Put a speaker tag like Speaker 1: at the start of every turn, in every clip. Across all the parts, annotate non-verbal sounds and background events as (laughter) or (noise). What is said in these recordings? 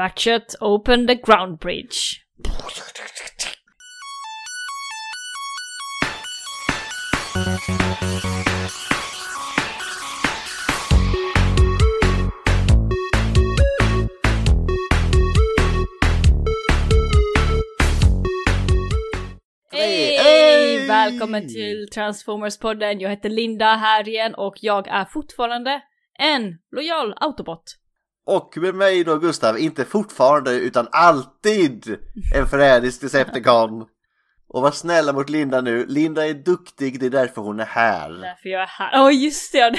Speaker 1: Ratchet, open the ground bridge. Hej!
Speaker 2: Hej! Hej!
Speaker 1: Välkommen till Transformers-podden. Jag heter Linda här igen och jag är fortfarande en lojal autobot.
Speaker 2: Och med mig då Gustav, inte fortfarande utan alltid en förrädisk Decepticon. Och var snälla mot Linda nu. Linda är duktig, det är därför hon är här.
Speaker 1: Därför jag är här. Åh just det, jag-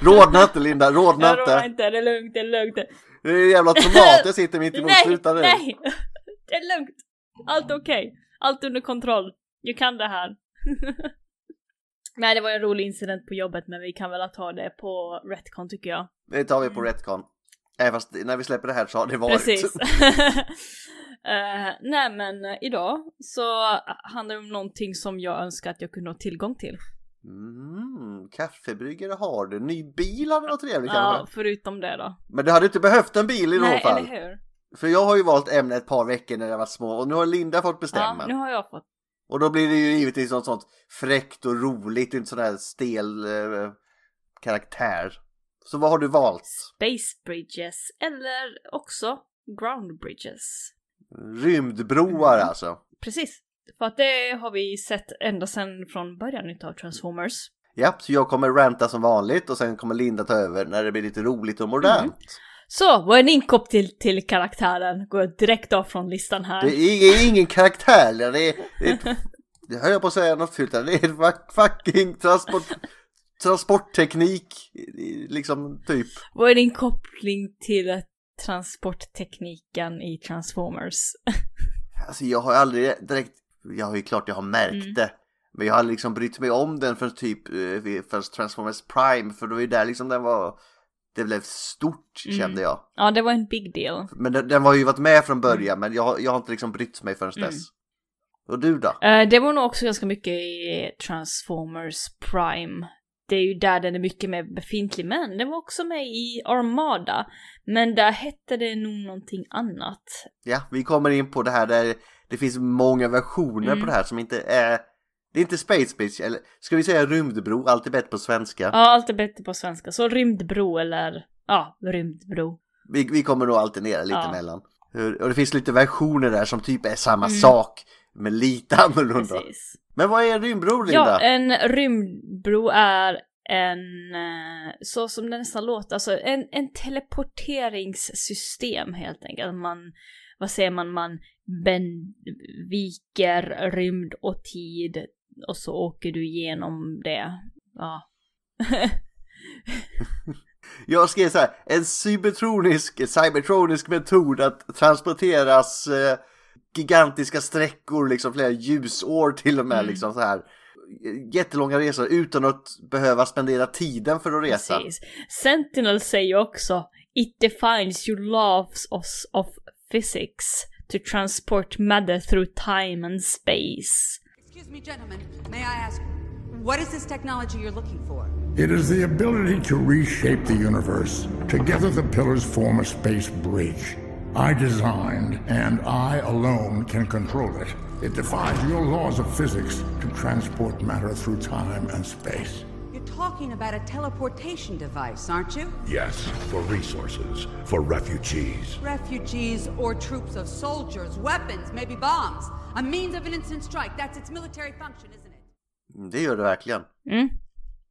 Speaker 2: Rodna inte Linda, rodna
Speaker 1: jag roar
Speaker 2: inte.
Speaker 1: inte. Det är lugnt, det är lugnt.
Speaker 2: Det är en jävla tomat jag sitter mitt emot,
Speaker 1: Nej,
Speaker 2: sluta nu.
Speaker 1: nej! (laughs) Det är lugnt. Allt okej. Allt under kontroll. Jag kan det här. (laughs) nej, det var en rolig incident på jobbet men vi kan väl ta det på Retcon tycker jag.
Speaker 2: Det tar vi på Retcon. Även fast när vi släpper det här så har det varit.
Speaker 1: Precis.
Speaker 2: (laughs)
Speaker 1: (laughs) Eh, nej men eh, idag så handlar det om någonting som jag önskar att jag kunde ha tillgång till.
Speaker 2: Mm, kaffebryggare har du, ny bil hade varit trevligt
Speaker 1: Ja,
Speaker 2: kanske.
Speaker 1: förutom det då.
Speaker 2: Men du hade inte behövt en bil i något
Speaker 1: Nej,
Speaker 2: fall.
Speaker 1: eller hur?
Speaker 2: För jag har ju valt ämne ett par veckor när jag var små och nu har Linda fått bestämma.
Speaker 1: Ja, nu har jag fått.
Speaker 2: Och då blir det ju givetvis något sånt fräckt och roligt, inte sån här stel eh, karaktär. Så vad har du valt?
Speaker 1: Space Bridges eller också Ground Bridges.
Speaker 2: Rymdbroar
Speaker 1: Mm.
Speaker 2: alltså.
Speaker 1: Precis. För att det har vi sett ända sedan från början utav Transformers.
Speaker 2: Japp, så jag kommer ranta som vanligt och sen kommer Linda ta över när det blir lite roligt och modernt.
Speaker 1: Så, var en inkopp till, till karaktären. Går jag direkt av från listan här.
Speaker 2: Det är ing- ingen karaktär, det är, det är ett, det höll jag på att säga något fult här, det är ett fucking transport, transportteknik, i- liksom typ.
Speaker 1: Vad är din koppling till eh, transporttekniken i Transformers?
Speaker 2: Alltså jag har aldrig direkt, jag har ju klart jag har märkt
Speaker 1: Mm.
Speaker 2: det. Men jag har aldrig liksom brytt mig om den för typ, eh, för Transformers Prime, för det var ju där liksom den var, det blev stort
Speaker 1: Mm.
Speaker 2: kände jag.
Speaker 1: Ja, det var en big deal.
Speaker 2: Men den, den var ju varit med från början, men jag, har- jag har inte liksom brytt mig förrän
Speaker 1: Mm.
Speaker 2: dess. Och du då?
Speaker 1: Eh, Det var nog också ganska mycket i Transformers Prime. Det är ju där den är mycket mer befintlig, men den var också med i Armada. Men där hette det nog någonting annat.
Speaker 2: Ja, vi kommer in på det här där det finns många versioner
Speaker 1: Mm.
Speaker 2: på det här som inte är, det är inte Space Beach, eller ska vi säga rymdbro, allt är bättre på svenska.
Speaker 1: Ja, allt är bättre på svenska. Så rymdbro eller, ja, rymdbro.
Speaker 2: Vi, vi kommer nog alternera lite
Speaker 1: Ja.
Speaker 2: mellan. Hur- Och det finns lite versioner där som typ är samma
Speaker 1: Mm.
Speaker 2: sak men lite (laughs) annorlunda.
Speaker 1: Precis.
Speaker 2: Men vad är en rymdbro
Speaker 1: Ja, eh.
Speaker 2: Linda?
Speaker 1: en rymdbro är en, eh, så som det nästan låter, alltså en, en teleporteringssystem helt enkelt. Man, vad säger man, man ben, viker rymd och tid och så åker du igenom det. Ja. (laughs)
Speaker 2: Jag skrev så här, en cybertronisk, cybertronisk metod att transporteras eh, gigantiska sträckor, liksom flera ljusår till och med,
Speaker 1: Mm.
Speaker 2: liksom så här. Jättelånga resor utan att behöva spendera tiden för att resa.
Speaker 1: Precis. Sentinel säger också It defines your laws of, of physics to transport matter through time and space.
Speaker 3: Excuse me, gentlemen. May I ask, what is this technology you're looking for?
Speaker 4: It is the ability to reshape the universe. Together, the pillars form a space bridge. I designed, and I alone can control it. It defies your laws of physics to transport matter through time and space.
Speaker 3: You're talking about a teleportation device, aren't you?
Speaker 5: Yes, for resources, for refugees.
Speaker 3: Refugees or troops of soldiers, weapons, maybe bombs. A means of an instant strike. That's its military function, isn't it?
Speaker 2: Det gör det verkligen.
Speaker 1: Mm.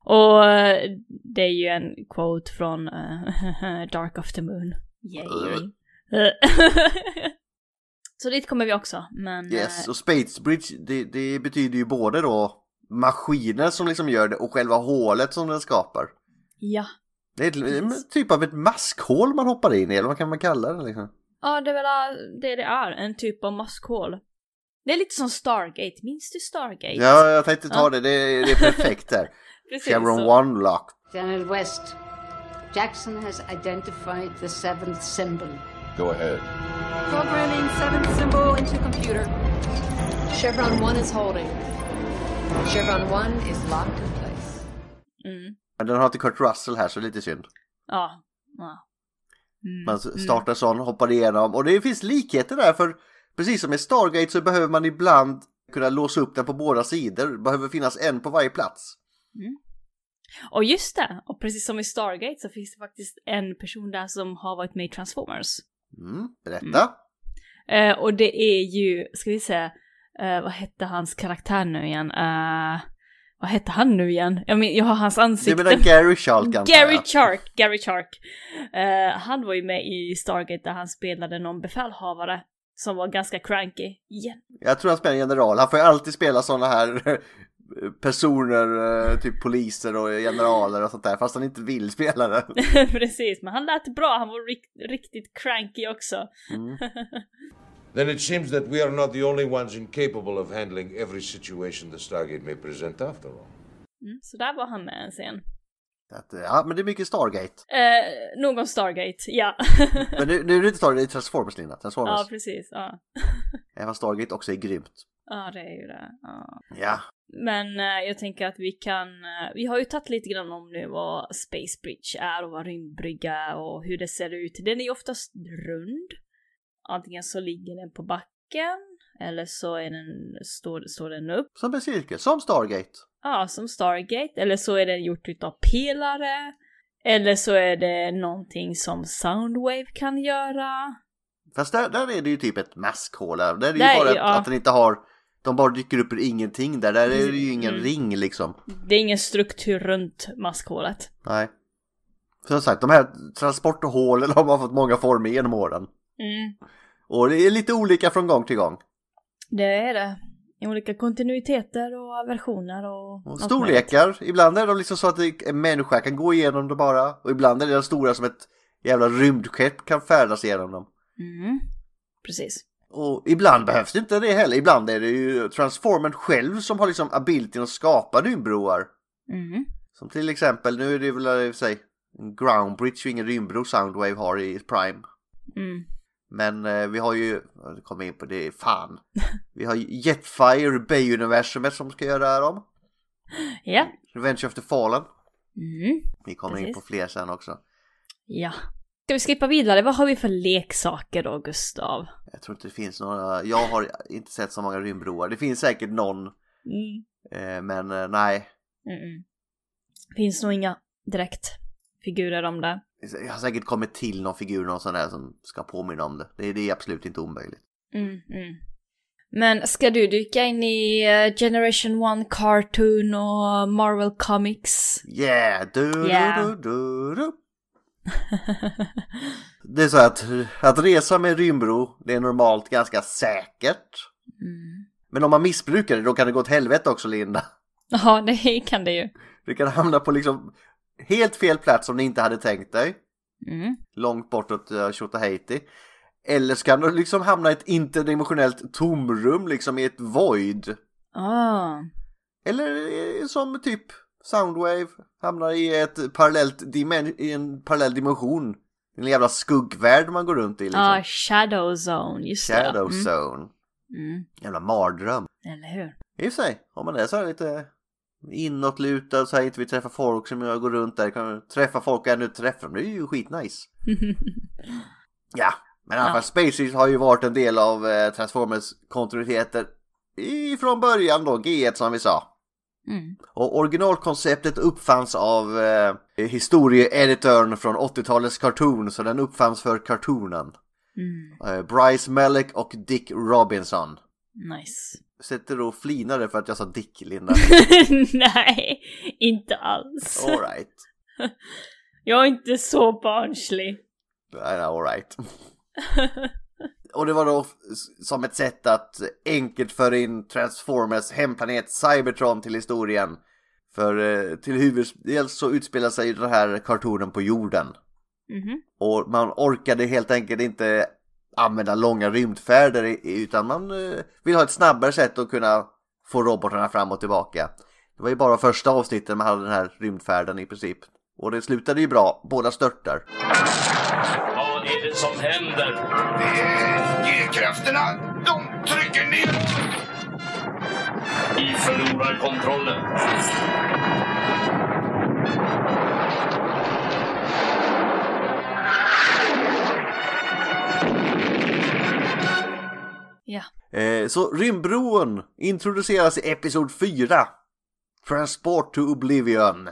Speaker 1: Och eh, det är ju en quote från eh, (laughs) Dark of the Moon. Yay. Eh, (laughs) Så dit kommer vi också, men...
Speaker 2: Yes,
Speaker 1: eh,
Speaker 2: och Space Bridge, det, det betyder ju både då maskiner som liksom gör det och själva hålet som den skapar.
Speaker 1: ja.
Speaker 2: Det är ett, en
Speaker 1: Precis.
Speaker 2: typ av ett maskhål man hoppar in i, eller vad kan man kalla det liksom?
Speaker 1: Ja, det är väl eh, det det är. En typ av maskhål. Det är lite som Stargate. Minns du Stargate?
Speaker 2: Ja, jag tänkte ta det, det, är- det är perfekt där.
Speaker 1: (laughs) Precis
Speaker 2: Chevron
Speaker 1: så.
Speaker 2: One Lock.
Speaker 6: General West, Jackson has identified the seventh symbol.
Speaker 7: Go ahead.
Speaker 8: Programming seventh symbol into computer. Chevron 1 is holding. Chevron 1 is locked in place.
Speaker 1: Mm.
Speaker 2: Men den har inte Kurt Russell här så det är lite synd.
Speaker 1: Ja. Mm. ja.
Speaker 2: Man startar sån, hoppar igenom och det finns likheter där för precis som i Stargate så behöver man ibland kunna låsa upp den på båda sidor. Det behöver finnas en på varje plats.
Speaker 1: Och just det, och precis som i Stargate så finns det faktiskt en person där som har varit med i Transformers.
Speaker 2: Mm, berätta.
Speaker 1: Eh, och det är ju, ska vi se, eh, vad hette hans karaktär nu igen? Eh, vad hette han nu igen? Jag, men, jag har hans
Speaker 2: Du
Speaker 1: ansikte.
Speaker 2: menar Gary Shark antar
Speaker 1: Gary
Speaker 2: jag.
Speaker 1: Chark, Gary Chark. Eh, han var ju med i Stargate där han spelade någon befälhavare som var ganska cranky. Igen.
Speaker 2: Jag tror han spelar general. Han får ju alltid spela sådana här eh, personer, eh, typ poliser och generaler och sånt där, fast han inte vill spela det.
Speaker 1: (laughs) Precis, men han lät bra, han var rik- riktigt cranky också.
Speaker 7: Then it seems that we are not the only ones incapable of handling every situation the Stargate may present after all.
Speaker 1: Mm, så där var han med en scen.
Speaker 2: Att, eh, ja, men det är mycket Stargate.
Speaker 1: Eh, någon Stargate, ja.
Speaker 2: Men nu, nu är det inte Stargate, det är Transformers, Linda. Transformers.
Speaker 1: ja, precis. Ja,
Speaker 2: Även fast Stargate också är grymt.
Speaker 1: ja det är ju det. Ja.
Speaker 2: Ja,
Speaker 1: Men eh, jag tänker att vi kan, eh, vi har ju tagit lite grann om nu vad Space Bridge är och vad rymdbrygga och hur det ser ut. Den är ju oftast rund. Antingen så ligger den på backen eller så är den, står, står den upp.
Speaker 2: som en cirkel, som Stargate.
Speaker 1: Ja, som Stargate. Eller så är den gjort utav pelare. Eller så är det någonting som Soundwave kan göra.
Speaker 2: Fast där, där är det ju typ ett maskhål. Där Det är ju
Speaker 1: Där är
Speaker 2: bara
Speaker 1: ju,
Speaker 2: att,
Speaker 1: ja.
Speaker 2: att den inte har, de bara dyker upp ur ingenting där. Där är det ju ingen
Speaker 1: Mm.
Speaker 2: ring liksom.
Speaker 1: Det är ingen struktur runt maskhålet.
Speaker 2: Nej. Som sagt, de här transporthålen (laughs) har man fått många former genom åren.
Speaker 1: Mm.
Speaker 2: Och det är lite olika från gång till gång.
Speaker 1: Det är det. I olika kontinuiteter och versioner och...
Speaker 2: Och
Speaker 1: allt
Speaker 2: storlekar, ibland är de liksom så att det- en människa kan gå igenom det bara. Och ibland är de stora som ett jävla rymdskepp kan färdas igenom dem.
Speaker 1: möjligt. Mm. Precis.
Speaker 2: Och ibland behövs det inte det heller. Ibland är det ju Transformern själv som har liksom abilityn att skapa rymdbroar.
Speaker 1: Mm.
Speaker 2: Som till exempel, nu är det väl i och för sig en ground bridge och ingen rymdbro Soundwave har i Prime.
Speaker 1: Mm.
Speaker 2: Men eh, vi har ju, ja, det kommer in på det, fan. Vi har ju Jetfire, Bay-universumet som ska göra dem.
Speaker 1: Ja.
Speaker 2: Revenge of the Fallen.
Speaker 1: Mm.
Speaker 2: Vi kommer in
Speaker 1: Precis.
Speaker 2: på fler sen också.
Speaker 1: Ja. Ska vi skippa vidare? Vad har vi för leksaker då, Gustav?
Speaker 2: Jag tror inte det finns några, jag har inte sett så många rymdbroar. Det finns säkert någon,
Speaker 1: Mm.
Speaker 2: eh, men eh, nej.
Speaker 1: Mm. Finns nog inga direkt figurer om det.
Speaker 2: Jag har säkert kommit till någon figur, någon sån där som ska påminna om det. Det, det är absolut inte omöjligt.
Speaker 1: Mm, mm. Men ska du dyka in i eh, Generation 1 Cartoon och Marvel Comics? (laughs)
Speaker 2: Yeah! Du,
Speaker 1: Yeah.
Speaker 2: Du, du, du, du. Det är så att, att resa med rymdbro, det är normalt ganska säkert.
Speaker 1: Mm.
Speaker 2: Men om man missbrukar det, då kan det gå åt helvete också, Linda.
Speaker 1: Ja, det kan det ju.
Speaker 2: Du kan hamna på liksom helt fel plats som du inte hade tänkt dig.
Speaker 1: Mm.
Speaker 2: Långt bortåt eh, Tjotahejti. Eller så kan du liksom hamna i ett interdimensionellt tomrum, liksom i ett void.
Speaker 1: Ah.
Speaker 2: Eller eh, som typ Soundwave hamnar i, ett parallellt dimen- i en parallell dimension. En jävla skuggvärld man går runt i liksom.
Speaker 1: ah, Shadow Zone, just
Speaker 2: Shadow
Speaker 1: det.
Speaker 2: Zone.
Speaker 1: Mm. Mm.
Speaker 2: Jävla mardröm.
Speaker 1: Eller hur?
Speaker 2: I och för sig, om man är så här lite inåtlutad så här inte vill träffa folk som jag går runt där. Kan jag träffa folk och ännu inte träffa dem. Det är ju skitnice. ja, men i alla fall Space Race har ju varit en del av eh, Transformers kontinuiteter ifrån början då, G1 som vi sa.
Speaker 1: Mm.
Speaker 2: Och originalkonceptet uppfanns av eh, historieeditorn från 80-talets cartoon, så den uppfanns för cartoonen. Eh, Bryce Mellick och Dick Robinson.
Speaker 1: Nice.
Speaker 2: Sätter då flinare för att jag sa Dick, Linda.
Speaker 1: (laughs) Nej, inte alls.
Speaker 2: Alright.
Speaker 1: Jag är inte så barnslig.
Speaker 2: Alright. Och det var då s- som ett sätt att enkelt föra in Transformers hemplanet Cybertron till historien. För eh, till huvuddels så utspelar sig den här kartonen på jorden.
Speaker 1: Mhm.
Speaker 2: Och man orkade helt enkelt inte använda långa rymdfärder i- utan man eh, vill ha ett snabbare sätt att kunna få robotarna fram och tillbaka. Det var ju bara första avsnitten man hade den här rymdfärden i princip. Och det slutade ju bra, båda störtar.
Speaker 9: Vad är det som händer?
Speaker 5: G-krafterna, de trycker ner
Speaker 9: Vi förlorar kontrollen.
Speaker 1: Ja.
Speaker 2: Eh, så rymdbron introduceras i Episod 4. Transport to Oblivion.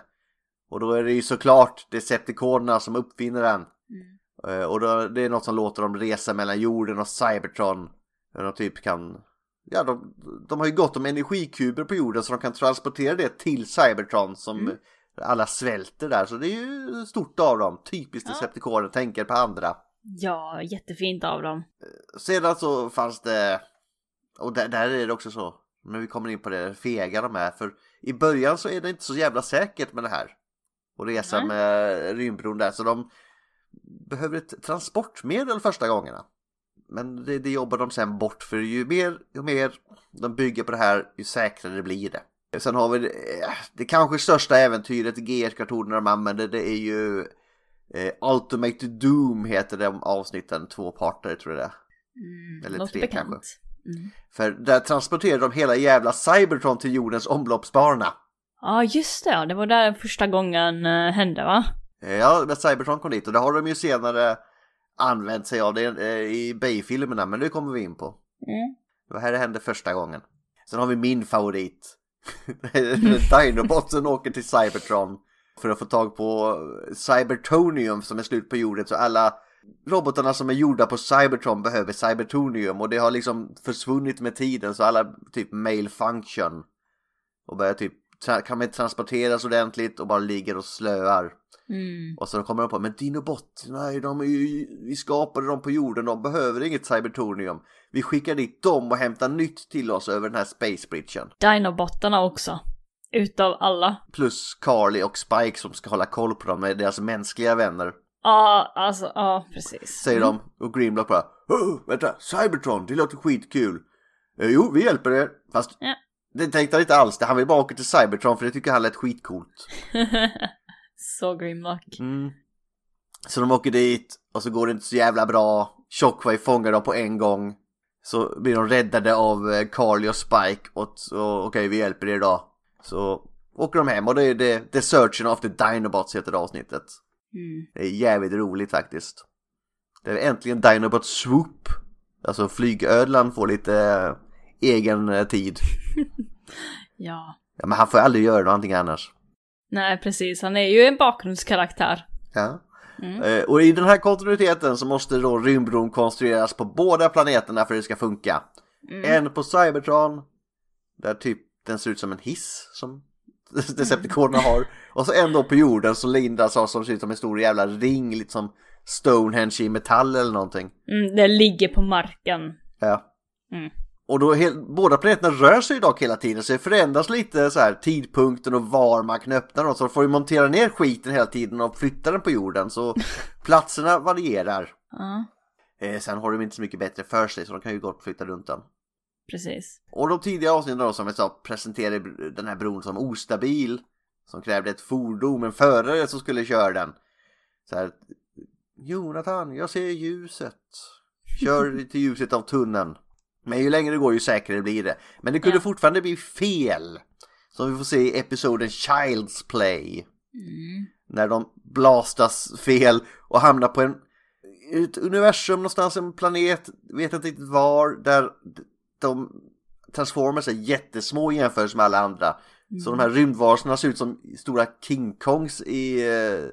Speaker 2: Och då är det ju såklart Decepticonerna som uppfinner den. Eh, och då, det är något som låter dem resa mellan jorden och Cybertron. Där de typ kan... Ja, de, de har ju gott om energikuber på jorden så de kan transportera det till Cybertron som alla svälter där. Så det är ju stort av dem. Typiskt Decepticoner, tänker på andra.
Speaker 1: Ja, jättefint av dem.
Speaker 2: Sedan så fanns det, och där, där är det också så, men vi kommer in på det, fega de är, för i början så är det inte så jävla säkert med det här. Och resa med rymdbron där, så de behöver ett transportmedel första gångerna. Men det, det jobbar de sen bort, för ju mer, ju mer de bygger på det här, ju säkrare det blir det. Sen har vi det, eh, det kanske största äventyret i GR-kartonerna de använder, det är ju Eh, Ultimate Doom heter de avsnitten, två parter tror jag det är. Eller
Speaker 1: Mm, Låter
Speaker 2: tre
Speaker 1: bekant.
Speaker 2: kanske. För där transporterar de hela jävla Cybertron till jordens omloppsbana.
Speaker 1: Ja, just det. ja. Det var där första gången eh, hände, va?
Speaker 2: Eh, Ja, när Cybertron kom dit och det har de ju senare använt sig av det eh, i Bay-filmerna, men det kommer vi in på. Det var här det hände första gången. Sen har vi min favorit. (laughs) Dinobotsen åker till Cybertron för att få tag på Cybertonium som är slut på jorden så alla robotarna som är gjorda på Cybertron behöver Cybertonium och det har liksom försvunnit med tiden så alla typ mail function och börjar typ tra- kan man inte transporteras ordentligt och bara ligger och slöar. Och så kommer de på, men dinobotterna, de är ju, vi skapade dem på jorden, de behöver inget cybertonium. Vi skickar dit dem och hämtar nytt till oss över den här space bridgen.
Speaker 1: Dinobottarna också. Utav alla.
Speaker 2: Plus Carly och Spike som ska hålla koll på dem, med deras mänskliga vänner.
Speaker 1: Ja, alltså, ja, precis.
Speaker 2: Säger de, och Grimlock bara, "Åh, vänta, Cybertron, det låter skitkul. "Eh, Jo, vi hjälper er, fast
Speaker 1: Ja.
Speaker 2: det tänkte han inte alls, han vill bara åka till Cybertron för det tycker han lät skitcoolt.
Speaker 1: Så Grimlock.
Speaker 2: Mm. Så de åker dit och så går det inte så jävla bra. Shockwave fångar dem på en gång. Så blir de räddade av eh, Carly och Spike och så okej vi hjälper er idag. Så åker de hem och det är det, The Searching of the Dinobots heter det avsnittet. Det är jävligt roligt faktiskt. Det är äntligen Dinobot Swoop. Alltså flygödlan får lite eh, egen eh, tid.
Speaker 1: Ja.
Speaker 2: Ja, men han får ju aldrig göra någonting annars.
Speaker 1: Nej, precis. Han är ju en bakgrundskaraktär.
Speaker 2: Ja. Eh, Och i den här kontinuiteten så måste då rymdbron konstrueras på båda planeterna för att det ska funka. En på Cybertron, där typ den ser ut som en hiss som (laughs) Decepticonerna har. Och så en då på jorden som Linda sa som ser ut som en stor jävla ring, lite som Stonehenge i metall eller någonting.
Speaker 1: Mm, den ligger på marken.
Speaker 2: Ja. Och då hel- båda planeterna rör sig ju dock hela tiden så det förändras lite så här tidpunkten och var man kan öppna dem. Så de får ju montera ner skiten hela tiden och flytta den på jorden så platserna varierar.
Speaker 1: Ja,
Speaker 2: Eh, sen har de inte så mycket bättre för sig så de kan ju gott flytta runt den.
Speaker 1: precis.
Speaker 2: Och de tidiga avsnitten då som jag sa presenterade br- den här bron som ostabil. Som krävde ett fordon med en förare som skulle köra den. Så här, Jonathan, jag ser ljuset. Kör till ljuset av tunneln. Men ju längre det går ju säkrare blir det. Men det kunde
Speaker 1: Ja.
Speaker 2: fortfarande bli fel. Som vi får se i episoden Child's Play. När de blastas fel och hamnar på en ett universum någonstans, en planet, vet inte riktigt var, där de Transformers är jättesmå i jämförelse med alla andra. Så de här rymdvarelserna ser ut som stora King Kongs i, eh,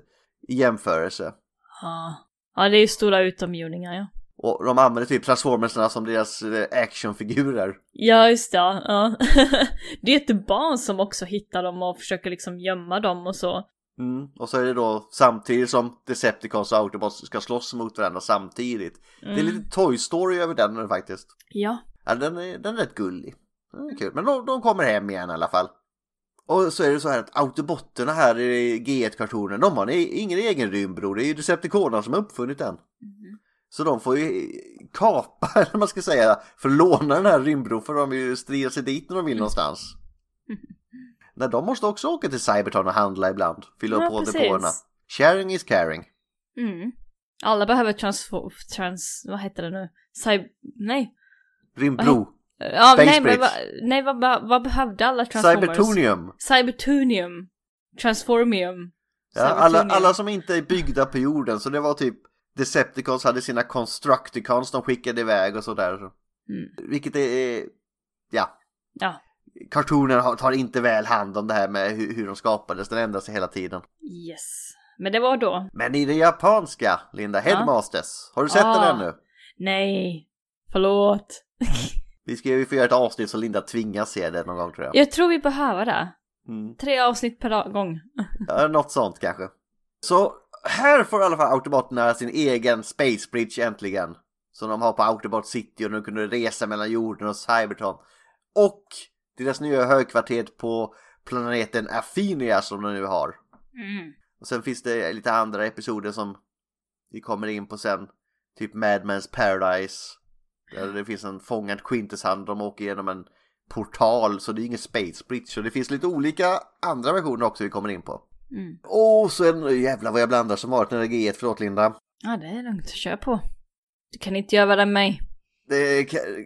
Speaker 2: i jämförelse.
Speaker 1: Ja. Ja, det är ju stora utomjordingar, ja.
Speaker 2: Och de använder typ Transformerserna som deras eh, actionfigurer.
Speaker 1: Ja, just det. Ja. ja. (laughs) det är ett barn som också hittar dem och försöker liksom gömma dem och så.
Speaker 2: Mm. Och så är det då samtidigt som Decepticons och Autobots ska slåss mot varandra samtidigt. Det är lite Toy Story över den faktiskt.
Speaker 1: Ja.
Speaker 2: Ja, den är, den är rätt gullig. Den är kul. Men de, de kommer hem igen i alla fall. Och så är det så här att Autobotterna här i G1-kartonen, de har ni- ingen egen rymdbro. Det är ju Decepticonerna som har uppfunnit den.
Speaker 1: Mhm.
Speaker 2: Så de får ju kapa, (laughs) eller vad man ska säga, för att låna den här rymdbron för de vill ju strida sig dit när de
Speaker 1: Mm.
Speaker 2: vill
Speaker 1: (laughs)
Speaker 2: någonstans. Nej, de måste också åka till Cybertron och handla ibland. Fylla
Speaker 1: Ja,
Speaker 2: upp på
Speaker 1: precis.
Speaker 2: depåerna. Sharing is caring.
Speaker 1: Mm. Alla behöver transfo... trans... vad heter det nu? Cyber... Nej.
Speaker 2: Rymdbro.
Speaker 1: Ja,
Speaker 2: Space
Speaker 1: nej, men,
Speaker 2: Bridge.
Speaker 1: va, nej vad, vad, vad behövde alla transformers?
Speaker 2: Cybertonium.
Speaker 1: Cybertonium. Transformium.
Speaker 2: Ja, alla,
Speaker 1: Cybertonium.
Speaker 2: alla som inte är byggda på jorden, så det var typ Decepticons hade sina Constructicons de skickade iväg och sådär.
Speaker 1: Mm.
Speaker 2: Vilket är, ja,
Speaker 1: Ja.
Speaker 2: kartonerna har- tar inte väl hand om det här med hur, hur de skapades, den ändrar sig hela tiden.
Speaker 1: Yes. Men det var då.
Speaker 2: Men i det japanska, Linda, Headmasters, har du sett
Speaker 1: Ah.
Speaker 2: den ännu?
Speaker 1: Nej. Förlåt.
Speaker 2: Vi ska ju få göra ett avsnitt så Linda tvingas se den någon gång tror jag.
Speaker 1: Jag tror vi behöver det.
Speaker 2: Mm.
Speaker 1: Tre avsnitt per dag- gång.
Speaker 2: Ja, något sånt kanske. Så här får i alla fall Autoboterna sin egen Space Bridge äntligen. Som de har på Autobot City och de kunde resa mellan jorden och Cybertron. Och deras nya högkvarter på planeten Afinia som de nu har.
Speaker 1: Mm.
Speaker 2: Och sen finns det lite andra episoder som vi kommer in på sen. Typ Mad Men's Paradise. Där det finns en fångad Quintessand, de åker genom en portal så det är ingen Space Bridge. Så det finns lite olika andra versioner också vi kommer in på.
Speaker 1: Mm.
Speaker 2: Och så är det jävlar vad jag blandar som varit när det är G1, förlåt Linda.
Speaker 1: Ja, det är lugnt. Kör på. Du kan inte göra det med mig.
Speaker 2: Det, ka-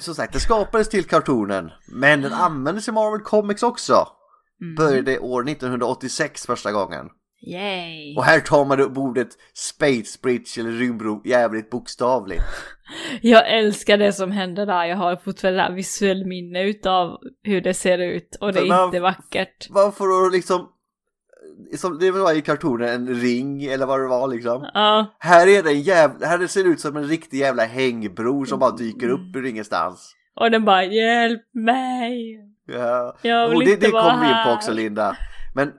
Speaker 2: som sagt, det skapades till kartonen, men den användes i Marvel Comics också. Började år 1986 första gången.
Speaker 1: Yay.
Speaker 2: Och här tar man upp ordet Space Bridge eller rymdbro jävligt bokstavligt.
Speaker 1: Jag älskar det som händer där. Jag har fortfarande det här visuell minne utav hur det ser ut. Och det
Speaker 2: Men man-
Speaker 1: är inte vackert.
Speaker 2: Varför då liksom... Som, det var i kartonen en ring eller vad det var liksom.
Speaker 1: Ja.
Speaker 2: Här är det en jävla... Här det ser ut som en riktig jävla hängbro som bara dyker upp ur ingenstans.
Speaker 1: Och den bara hjälp mig.
Speaker 2: Ja,
Speaker 1: Jag vill
Speaker 2: och det,
Speaker 1: inte
Speaker 2: det
Speaker 1: vara
Speaker 2: kommer vi in på
Speaker 1: här.
Speaker 2: också Linda. Men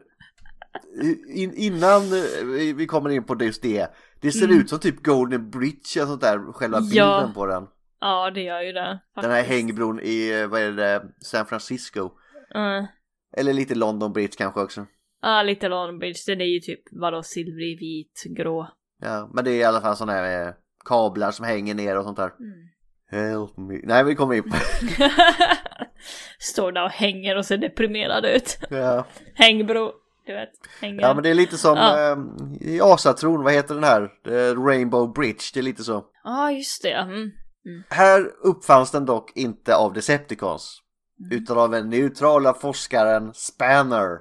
Speaker 2: in, innan eh, vi vi kommer in på just det. Det ser ut som typ Golden Bridge och sånt där, själva bilden
Speaker 1: Mm. Ja.
Speaker 2: på den.
Speaker 1: Ja, det gör ju det.
Speaker 2: Den här
Speaker 1: faktiskt.
Speaker 2: hängbron i, eh, vad är det, San Francisco.
Speaker 1: Ja.
Speaker 2: Eller lite London Bridge kanske också.
Speaker 1: Ja, lite Long Beach. Den är ju typ vadå, silvrig, vit, grå. (laughs)
Speaker 2: Ja, men det är i alla fall sådana här eh, kablar som hänger ner och sånt där.
Speaker 1: Mm.
Speaker 2: Help me. Nej, vi kommer in på
Speaker 1: Står där och hänger och ser deprimerad ut. (laughs)
Speaker 2: ja.
Speaker 1: Hängbro, du vet. Hänger.
Speaker 2: ja, men det är lite som
Speaker 1: Ja.
Speaker 2: eh, i Asatron, vad heter den här? Eh, Rainbow Bridge, det är lite så.
Speaker 1: Ja, just det. Mm.
Speaker 2: Här uppfanns den dock inte av Decepticons.
Speaker 1: Mm.
Speaker 2: Utan av den neutrala forskaren Spanner.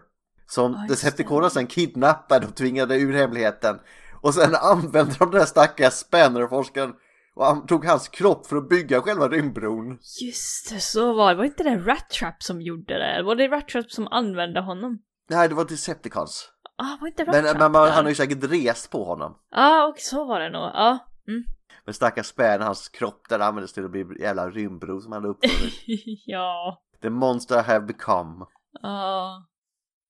Speaker 2: Som
Speaker 1: Ja, just
Speaker 2: Decepticonerna sen kidnappade och tvingade ur hemligheten. Och sen (laughs) använde de den här stackars Spanner-forskaren och an- tog hans kropp för att bygga själva rymdbron.
Speaker 1: Just det, så var det. Var inte det Rat Trap som gjorde det? Eller Var det Rat Trap som använde honom?
Speaker 2: Nej, det var Decepticons.
Speaker 1: Ah, var inte Rat
Speaker 2: Men,
Speaker 1: Trap
Speaker 2: men man,
Speaker 1: där?
Speaker 2: han har ju säkert rest på honom.
Speaker 1: Ja, och så var det nog. Ja. (laughs) Mm.
Speaker 2: Men stackars Spanner, hans kropp där användes till att bli jävla rymdbro som
Speaker 1: (laughs)
Speaker 2: han hade uppfunnit.
Speaker 1: ja.
Speaker 2: The monster I have become.
Speaker 1: Ja.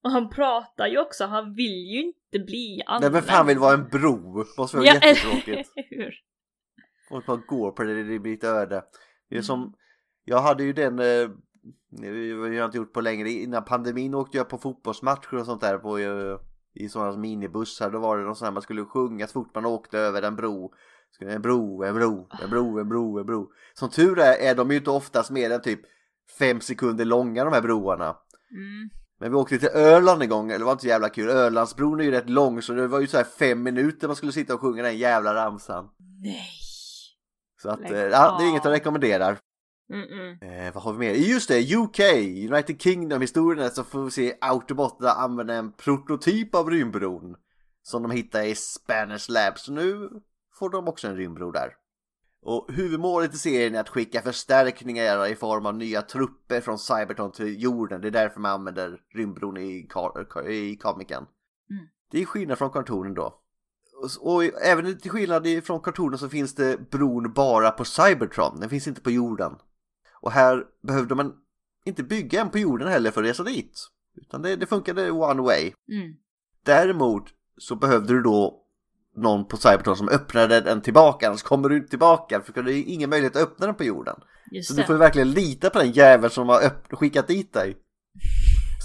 Speaker 1: Och han pratar ju också, han vill ju inte bli
Speaker 2: Nej
Speaker 1: använd.
Speaker 2: men fan vill vara en bro? Måste vara
Speaker 1: Ja,
Speaker 2: jättetråkigt.
Speaker 1: eller hur?
Speaker 2: Folk bara går på det, det blir ett öde. Det är som, jag hade ju den, eh, jag har inte gjort på länge, innan pandemin åkte jag på fotbollsmatcher och sånt där på, eh, i sådana minibussar. Då var det någon sån här man skulle sjunga så fort man åkte över en bro. Skulle, En bro, en bro, en bro, en bro, en bro. Som tur är, är de ju inte oftast mer än typ fem sekunder långa de här broarna.
Speaker 1: Mm.
Speaker 2: Men vi åkte till Öland en gång, det var inte så jävla kul. Ölandsbron är ju rätt lång så det var ju så här fem minuter man skulle sitta och sjunga den jävla ramsan.
Speaker 1: Nej.
Speaker 2: Så att,
Speaker 1: Lägg
Speaker 2: eh, ja, det är
Speaker 1: av.
Speaker 2: inget jag rekommenderar.
Speaker 1: Mm-mm.
Speaker 2: Eh, vad har vi mer? Just det, UK, United Kingdom-historien så får vi se Autobot där använda en prototyp av rymdbron. Som de hittar i Spanish Labs. Så nu får de också en rymdbro där. Och huvudmålet i serien är att skicka förstärkningar i form av nya trupper från Cybertron till jorden. Det är därför man använder rymdbron i, kar- i komiken. Det är skillnad från kartonen då. Och, s- och även till skillnad i- från kartonen så finns det bron bara på Cybertron. Den finns inte på jorden. Och här behövde man inte bygga en på jorden heller för att resa dit. Utan det, det funkade one way.
Speaker 1: Mm.
Speaker 2: Däremot så behövde du då någon på Cybertron som öppnade den tillbaka, annars kommer du inte tillbaka för det är ingen möjlighet att öppna den på jorden. Så
Speaker 1: Just
Speaker 2: du
Speaker 1: det.
Speaker 2: får ju verkligen lita på den jäveln som har öpp- skickat dit dig.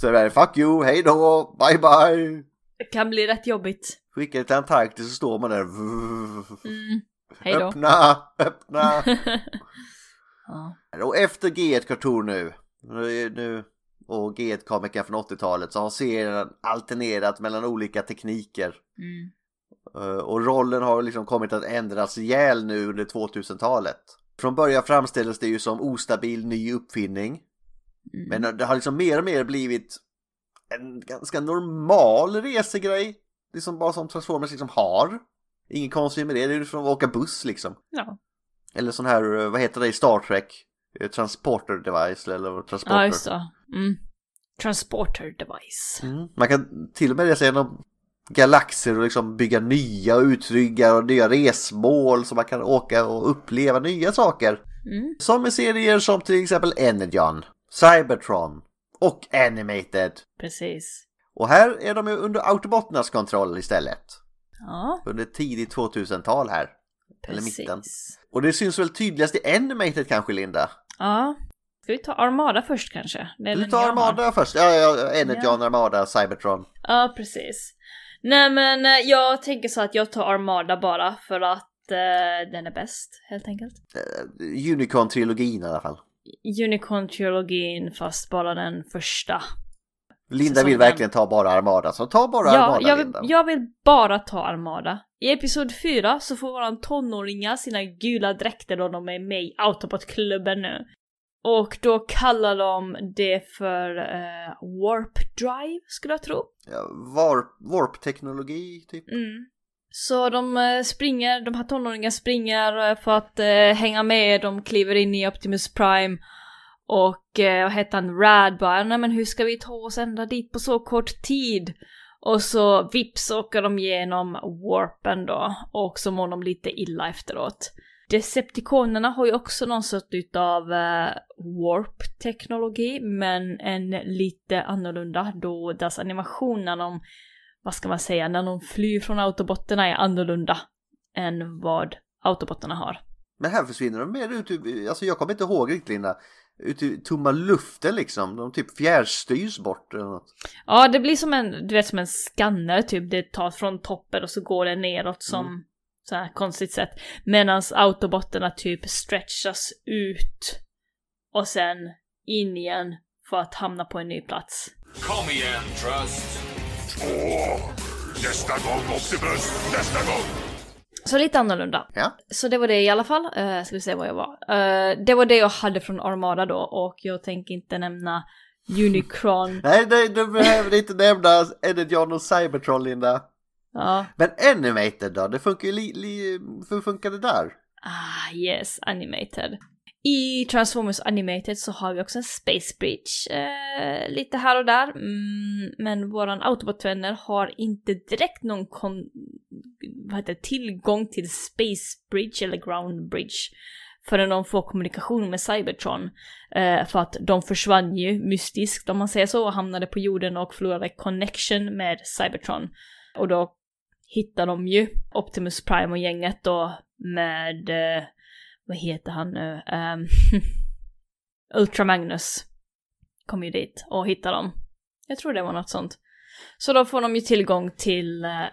Speaker 2: Så det är det, fuck you, hej då, bye bye.
Speaker 1: Det kan bli rätt jobbigt.
Speaker 2: Skickar dig till Antarktis så står man där.
Speaker 1: Mm. Hej då.
Speaker 2: Öppna, öppna.
Speaker 1: (laughs) Ja.
Speaker 2: Och efter G1 Cartoon nu, nu- nu och G1 komikern från 80-talet så har serien alternerat mellan olika tekniker.
Speaker 1: Mm.
Speaker 2: Eh, Och rollen har liksom kommit att ändras ihjäl nu under 2000-talet. Från början framställdes det ju som ostabil ny uppfinning.
Speaker 1: Mm.
Speaker 2: Men det har liksom mer och mer blivit en ganska normal resegrej. Det är som bara som Transformers liksom har. Inget konstigt med det, det är ju som att åka buss liksom.
Speaker 1: Ja.
Speaker 2: Eller sån här, eh, vad heter det i Star Trek? Eh, Transporter device eller transporter.
Speaker 1: Ja, just det. Mm. Transporter device.
Speaker 2: Mm. Man kan till och med resa genom galaxer och liksom bygga nya utryggar och nya resmål så man kan åka och uppleva nya saker.
Speaker 1: Mm.
Speaker 2: Som i serier som till exempel Energon, Cybertron och Animated.
Speaker 1: Precis.
Speaker 2: Och här är de ju under Autobotnas kontroll istället.
Speaker 1: Ja,
Speaker 2: Under tidigt 2000-tal här. Eller
Speaker 1: precis.
Speaker 2: mitten. Och det syns väl tydligast i Animated kanske, Linda?
Speaker 1: Ja. Ska vi ta Armada först kanske? Det är
Speaker 2: Eller
Speaker 1: den
Speaker 2: ta
Speaker 1: jag har.
Speaker 2: Armada först. Ja, ja, ja, Energon, Armada, Cybertron.
Speaker 1: Ja, precis. Nej men eh, jag tänker så att jag tar Armada bara för att eh, den är bäst helt enkelt.
Speaker 2: Unicorn-trilogin i alla fall.
Speaker 1: Unicorn-trilogin fast bara den första.
Speaker 2: Linda
Speaker 1: Säsong
Speaker 2: vill
Speaker 1: fem.
Speaker 2: verkligen ta bara Armada, så ta bara
Speaker 1: Ja,
Speaker 2: Armada,
Speaker 1: jag vill,
Speaker 2: Linda.
Speaker 1: jag vill bara ta Armada. I Episod 4 så får våran tonåringar sina gula dräkter då de är med i Autobot-klubben nu. Och då kallar de det för eh, Warp Drive, skulle jag tro.
Speaker 2: Ja, Warp- Warp-teknologi, typ.
Speaker 1: Mm. Så de eh, springer, de här tonåringarna springer eh, för att eh, hänga med, de kliver in i Optimus Prime och eh, vad heter han, Rad bara, nej men hur ska vi ta oss ända dit på så kort tid? Och så vips åker de genom warpen då och så mår de lite illa efteråt. Decepticonerna har ju också någon sort utav eh, warp-teknologi men en lite annorlunda då deras animation när de vad ska man säga, när de flyr från autobotterna är annorlunda än vad autobotterna har.
Speaker 2: Men här försvinner de mer ut i, alltså jag kommer inte ihåg riktigt Linda, ut i tomma luften liksom. De typ fjärrstyrs bort eller något.
Speaker 1: Ja, det blir som en, du vet som en skanner typ, det tas från toppen och så går det neråt som så här konstigt sätt. Medan autobotterna typ stretchas ut och sen in igen för att hamna på en ny plats.
Speaker 9: Kom igen, Trust.
Speaker 5: Nästa gång, Optimus! Nästa gång!
Speaker 1: Så lite annorlunda.
Speaker 2: Ja.
Speaker 1: Så det var det i alla fall. Uh, ska vi se vad jag var. Eh, det var det jag hade från Armada då och jag tänker inte nämna Unicron.
Speaker 2: Nej, nej, du behöver inte nämna Energon och Cybertron Linda.
Speaker 1: Ja.
Speaker 2: Men Animated då, det funkar ju li, li, hur funkar det där?
Speaker 1: Ah, yes, animated. I Transformers Animated så har vi också en Space Bridge eh, lite här och där. Mm, men våran Autobot-vänner har inte direkt någon kon- vad heter, det, tillgång till Space Bridge eller Ground Bridge förrän de får kommunikation med Cybertron. Eh, för att de försvann ju mystiskt om man säger så och hamnade på jorden och förlorade connection med Cybertron. Och då hittar de ju Optimus Prime och gänget då med, eh, vad heter han nu, Ehm, (laughs) Ultra Magnus kom ju dit och hittade dem. Jag tror det var något sånt. Så då får de ju tillgång till eh,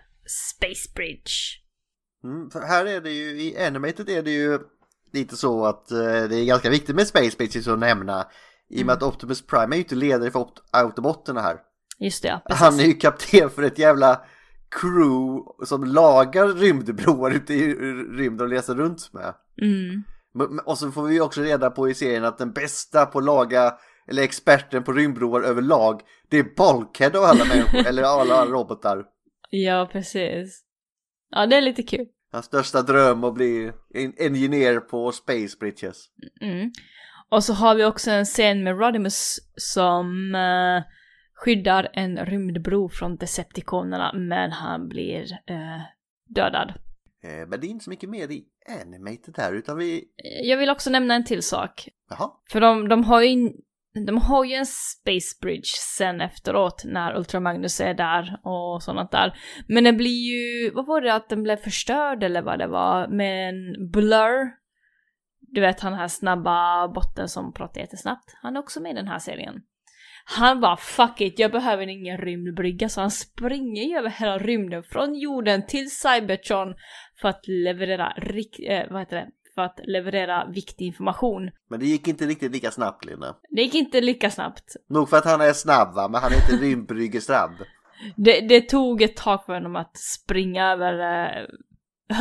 Speaker 1: Space Bridge.
Speaker 2: Mm, för här är det ju, i Animated är det ju lite så att eh, det är ganska viktigt med Space Bases att nämna. I
Speaker 1: Mm.
Speaker 2: och med att Optimus Prime är ju inte ledare för Opt- Autobotterna här.
Speaker 1: Just det, ja, precis.
Speaker 2: Han är ju kapten för ett jävla crew som lagar rymdbroar ute i rymden och reser runt med.
Speaker 1: Mm.
Speaker 2: Men- men- Och så får vi ju också reda på i serien att den bästa på att laga, eller experten på rymdbroar överlag, det är Bulkhead av
Speaker 1: (laughs)
Speaker 2: alla människor, eller alla robotar.
Speaker 1: Ja, precis. Ja, det är lite kul.
Speaker 2: Hans största dröm att bli en engineer på Space Bridges.
Speaker 1: Mm. Och så har vi också en scen med Rodimus som eh, skyddar en rymdbro från Decepticonerna men han blir eh, dödad.
Speaker 2: Eh, Men det är inte så mycket mer i Animated här, utan vi...
Speaker 1: Jag vill också nämna en till sak.
Speaker 2: Jaha,
Speaker 1: För de, de, har, ju, in- de har ju en space bridge sen efteråt när Ultra Magnus är där och sånt där. Men den blir ju, vad var det att den blev förstörd eller vad det var med en blur? Du vet han här snabba botten som pratar jättesnabbt. Han är också med i den här serien. Han bara fuck it, jag behöver ingen rymdbrygga så han springer ju över hela rymden från jorden till Cybertron för att leverera, rik- eh, vad heter det? För att leverera viktig information.
Speaker 2: men det gick inte riktigt lika snabbt Linda.
Speaker 1: Det gick inte lika snabbt.
Speaker 2: Nog för att han är snabb va, men han är inte (laughs) rymdbryggesnabb.
Speaker 1: Det, det tog ett tag för honom att springa över, eh,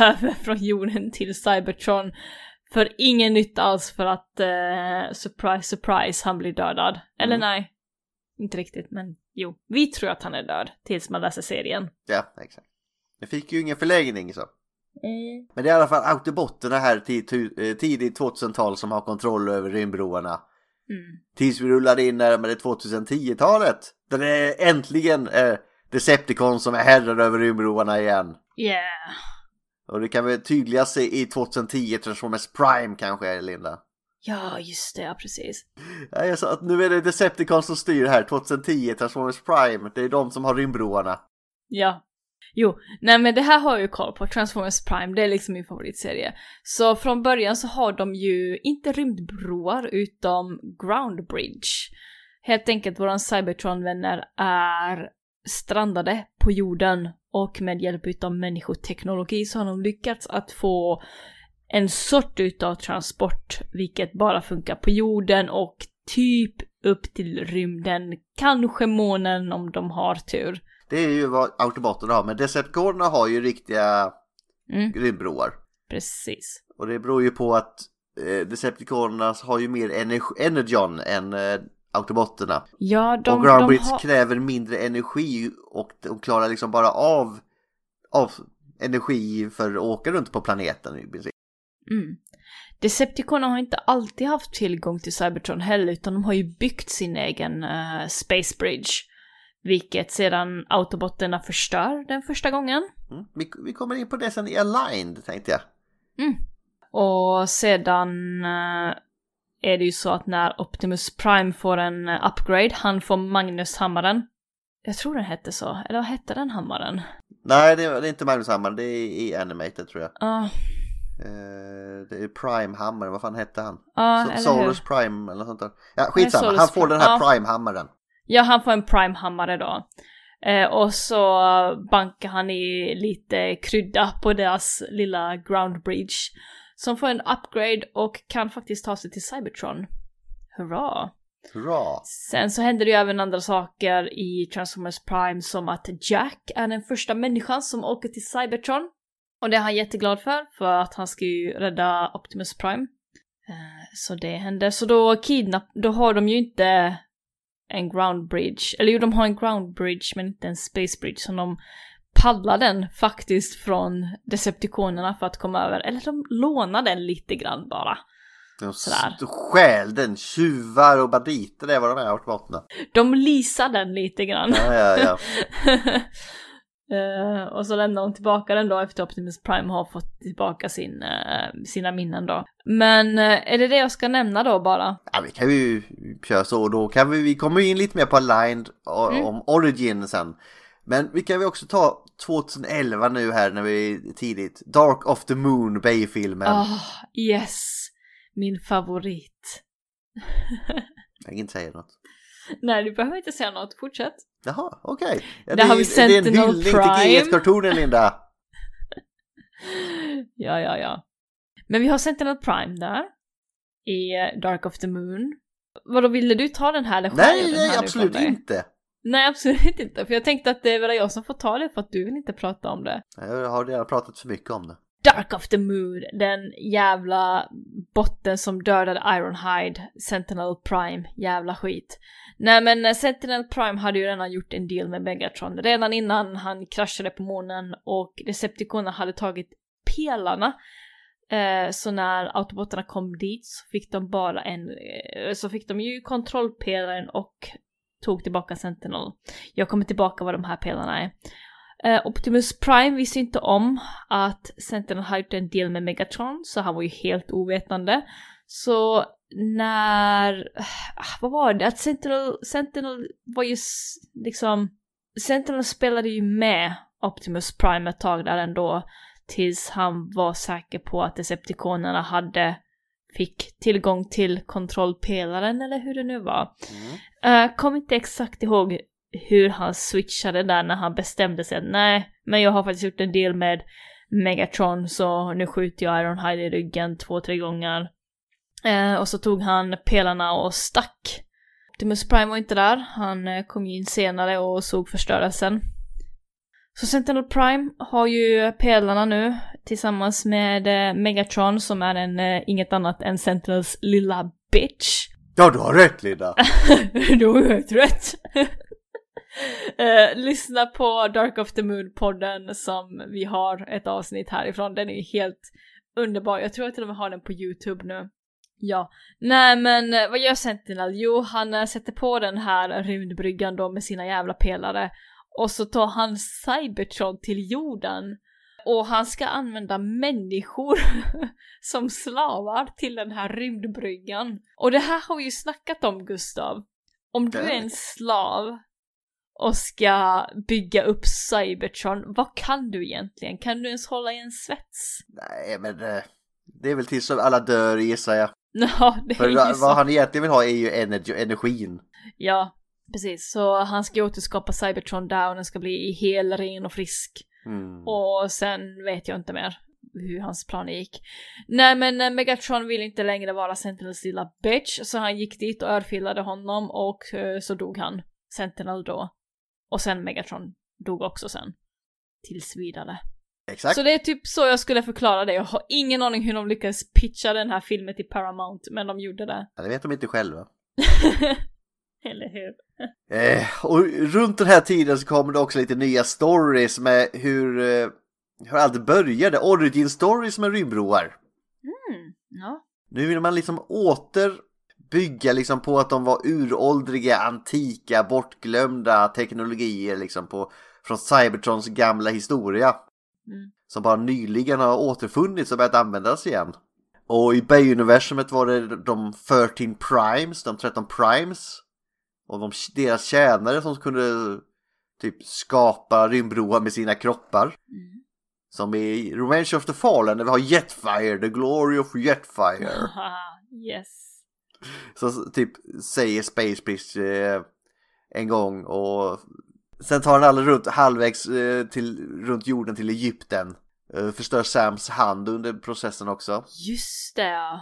Speaker 1: (laughs) över från jorden till Cybertron. För ingen nytta alls för att, eh, surprise, surprise, han blir dödad. Eller nej, inte riktigt, men jo. Vi tror att han är död tills man läser serien.
Speaker 2: Ja, exakt. Det fick ju ingen förlängning så.
Speaker 1: Mm.
Speaker 2: Men det är i alla fall autobotterna här tid- tu- eh, tidigt 2000-tal som har kontroll över rymdbroarna.
Speaker 1: Mm.
Speaker 2: Tills vi rullar in närmare 2010-talet. Där det äntligen är Decepticon som är herrar över rymdbroarna igen.
Speaker 1: Yeah.
Speaker 2: Och det kan vi tydligast se i 2010 Transformers Prime kanske, Linda.
Speaker 1: Ja, just det, ja precis.
Speaker 2: Ja, jag sa att nu är det Decepticon som styr här, 2010 Transformers Prime. Det är de som har rymdbroarna.
Speaker 1: Ja. Jo, nej men det här har jag ju koll på. Transformers Prime, det är liksom min favoritserie. Så från början så har de ju inte rymdbroar utom Ground Bridge. Helt enkelt, våra Cybertron-vänner är strandade på jorden och med hjälp utav människoteknologi så har de lyckats att få en sort utav transport vilket bara funkar på jorden och typ upp till rymden, kanske månen om de har tur.
Speaker 2: Det är ju vad Autobotterna har, men Decepticonerna har ju riktiga
Speaker 1: Mm.
Speaker 2: rymdbroar.
Speaker 1: Precis.
Speaker 2: Och det beror ju på att eh, Decepticonerna har ju mer energi, energon än eh, Autobotterna.
Speaker 1: Ja, de,
Speaker 2: och Ground
Speaker 1: de
Speaker 2: Bridge
Speaker 1: har...
Speaker 2: kräver mindre energi och de klarar liksom bara av, av energi för att åka runt på planeten i princip.
Speaker 1: Mm. Decepticonerna har inte alltid haft tillgång till Cybertron heller, utan de har ju byggt sin egen eh, Space Bridge. Vilket sedan Autobotterna förstör den första gången.
Speaker 2: Mm. Vi, vi kommer in på det sen i Aligned tänkte jag.
Speaker 1: Och sedan eh, är det ju så att när Optimus Prime får en eh, upgrade, han får Magnus-hammaren. Jag tror den hette så, eller vad hette den hammaren?
Speaker 2: Nej, det, det är inte Magnus Hammar, det är i Animated tror jag.
Speaker 1: Ja,
Speaker 2: Eh, det är Prime Hammer, vad fan hette han?
Speaker 1: ja,
Speaker 2: So-
Speaker 1: eller
Speaker 2: Solus
Speaker 1: hur?
Speaker 2: Prime eller sånt där. Ja, skitsamma,
Speaker 1: Solus
Speaker 2: han får den här
Speaker 1: Prime, ja.
Speaker 2: Prime Hammaren.
Speaker 1: Ja, han får en prime-hammare då. Eh, och så bankar han i lite krydda på deras lilla ground bridge. Som får en upgrade och kan faktiskt ta sig till Cybertron. Hurra!
Speaker 2: Bra!
Speaker 1: Sen så händer det ju även andra saker i Transformers Prime som att Jack är den första människan som åker till Cybertron. Och det är han jätteglad för, för att han ska ju rädda Optimus Prime. Eh, Så det händer. Så då kidnapp... Då har de ju inte en ground bridge. Eller jo, de har en ground bridge men inte en space bridge som de pallar den faktiskt från Decepticonerna för att komma över. Eller de lånar den lite grann bara.
Speaker 2: De s-
Speaker 1: Sådär.
Speaker 2: stjäl den, tjuvar och banditer, det är vad de är, automaterna.
Speaker 1: De leasar den lite grann.
Speaker 2: Ja, ja, ja.
Speaker 1: (laughs) Eh, och så lämnar hon tillbaka den då efter Optimus Prime har fått tillbaka sin, eh, sina minnen då. Men eh, är det det jag ska nämna då bara?
Speaker 2: ja vi kan ju köra så och då kan vi, vi kommer ju in lite mer på Aligned och,
Speaker 1: Mm.
Speaker 2: om Origin sen. Men vi kan ju också ta 2011 nu här när vi är tidigt. Dark of the Moon Bay-filmen.
Speaker 1: Ah, yes! Min favorit.
Speaker 2: Jag kan inte säga något.
Speaker 1: Nej, du behöver inte säga något, fortsätt.
Speaker 2: Jaha, okej. Ja,
Speaker 1: Där har vi
Speaker 2: det är en
Speaker 1: Sentinel
Speaker 2: hyllning
Speaker 1: Prime.
Speaker 2: till GS-kartonen Linda.
Speaker 1: Ja, ja, ja. Men vi har Sentinel Prime där. I eh, Dark of the Moon. Vadå, ville du ta den här? Eller skär jag
Speaker 2: Nej,
Speaker 1: den här
Speaker 2: nej,
Speaker 1: nu
Speaker 2: absolut
Speaker 1: från dig?
Speaker 2: inte.
Speaker 1: Nej, absolut inte. För jag tänkte att det var jag som får ta det för att du vill inte prata om det.
Speaker 2: Jag har redan pratat för mycket om det.
Speaker 1: Dark of the Moon, den jävla botten som dödade Ironhide, Sentinel Prime, jävla skit. Nej men eh, Sentinel Prime hade ju redan gjort en deal med Megatron redan innan han kraschade på månen och Decepticonerna hade tagit pelarna. Eh, så när Autobotterna kom dit så fick de bara en, eh, så fick de ju kontrollpelaren och tog tillbaka Sentinel. Jag kommer tillbaka vad de här pelarna är. Eh, Optimus Prime visste inte om att Sentinel hade gjort en deal med Megatron, så han var ju helt ovetande. Så när... ah, Vad var det? Att Sentinel, Sentinel var ju s- liksom... Sentinel spelade ju med Optimus Prime ett tag där ändå, tills han var säker på att Decepticonerna hade fick tillgång till kontrollpelaren eller hur det nu var. Eh, kom inte exakt ihåg hur han switchade där när han bestämde sig att nej, men jag har faktiskt gjort en del med Megatron så nu skjuter jag Ironhide i ryggen två, tre gånger. Eh, och så tog han pelarna och stack. Optimus Prime var inte där, han eh, kom ju in senare och såg förstörelsen. Så Sentinel Prime har ju pelarna nu tillsammans med eh, Megatron som är en, eh, inget annat än Sentinels lilla bitch. (laughs)
Speaker 2: Ja, du har rätt Linda.
Speaker 1: du har ju helt rätt. (laughs) Eh, lyssna på Dark of the Moon-podden som vi har ett avsnitt härifrån. Den är ju helt underbar. Jag tror att de har den på YouTube nu. Ja, nej men eh, vad gör Sentinel? Jo, han eh, sätter på den här rymdbryggan då med sina jävla pelare och så tar han Cybertron till jorden och han ska använda människor (laughs) som slavar till den här rymdbryggan. Och det här har vi ju snackat om Gustav. Om du är en slav och ska bygga upp Cybertron, vad kan du egentligen? Kan du ens hålla i en svets?
Speaker 2: Nej, men eh, det är väl tills alla dör gissar jag.
Speaker 1: (laughs) Ja, det
Speaker 2: För
Speaker 1: är ju
Speaker 2: vad
Speaker 1: så.
Speaker 2: han egentligen vill ha är ju energi, energin.
Speaker 1: Ja, precis. Så han ska återskapa Cybertron där och den ska bli hel, ren och frisk.
Speaker 2: Mm.
Speaker 1: Och sen vet jag inte mer hur hans planer gick. Nej men eh, Megatron vill inte längre vara Sentinels lilla bitch så han gick dit och örfilade honom och eh, så dog han. Sentinel då. Och sen Megatron dog också sen. Tills vidare.
Speaker 2: Exakt.
Speaker 1: Så det är typ så jag skulle förklara det. Jag har ingen aning hur de lyckades pitcha den här filmen till Paramount men de gjorde det. (laughs)
Speaker 2: Ja, det vet de inte själva.
Speaker 1: Eller hur?
Speaker 2: Eh, och runt den här tiden så kommer det också lite nya stories med hur, eh, hur allt började. Origin stories med rymdroar.
Speaker 1: Ja.
Speaker 2: Nu vill man liksom åter bygga liksom på att de var uråldriga, antika, bortglömda teknologier liksom på, från Cybertrons gamla historia. Som bara nyligen har återfunnits och börjat användas igen. Och i Bay-universumet var det de 13 Primes, de 13 Primes. Och de, deras tjänare som kunde typ skapa rymdbroar med sina kroppar. Som i Revenge of the Fallen där vi har Jetfire, the glory of Jetfire.
Speaker 1: Haha, (laughs) yes.
Speaker 2: Så s- typ säger Space Bitch eh, en gång och sen tar han alla runt halvvägs eh, till, runt jorden till Egypten. Eh, förstör Sams hand under processen också.
Speaker 1: Just det ja.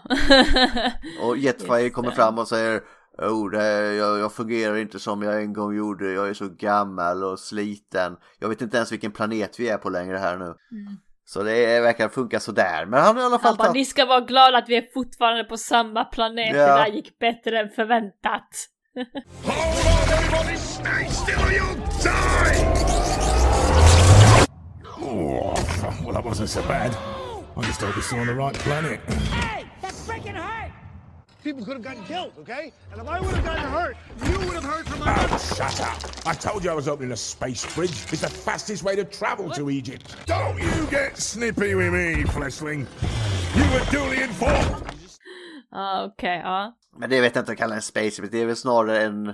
Speaker 2: Och Jetfire
Speaker 1: Just
Speaker 2: kommer
Speaker 1: det.
Speaker 2: fram och säger Oh, det här, jag, jag fungerar inte som jag en gång gjorde. Jag är så gammal och sliten. Jag vet inte ens vilken planet vi är på längre här nu. Så det verkar funka sådär. Men han har i alla fall
Speaker 1: Han (laughs) Mm. bara,
Speaker 2: tagit...
Speaker 1: ni ska vara glada att vi är fortfarande på samma planet,
Speaker 2: Ja.
Speaker 1: det där gick bättre än förväntat.
Speaker 5: Hold on, everybody! Stay still or you'll die!
Speaker 4: Oh, well, that wasn't so bad. I just hope we saw on the right planet.
Speaker 5: People could have gotten killed, okay? And if I would have gotten hurt, you would have heard from my
Speaker 4: Ah, Shut up! I told you I was opening a space bridge. It's the fastest way to travel to Egypt. Don't you get snippy with me, Fleshling. You were duly informed.
Speaker 1: Ja, Okej, ja.
Speaker 2: Men det vet jag inte om jag kallar en space bridge. Det är väl snarare en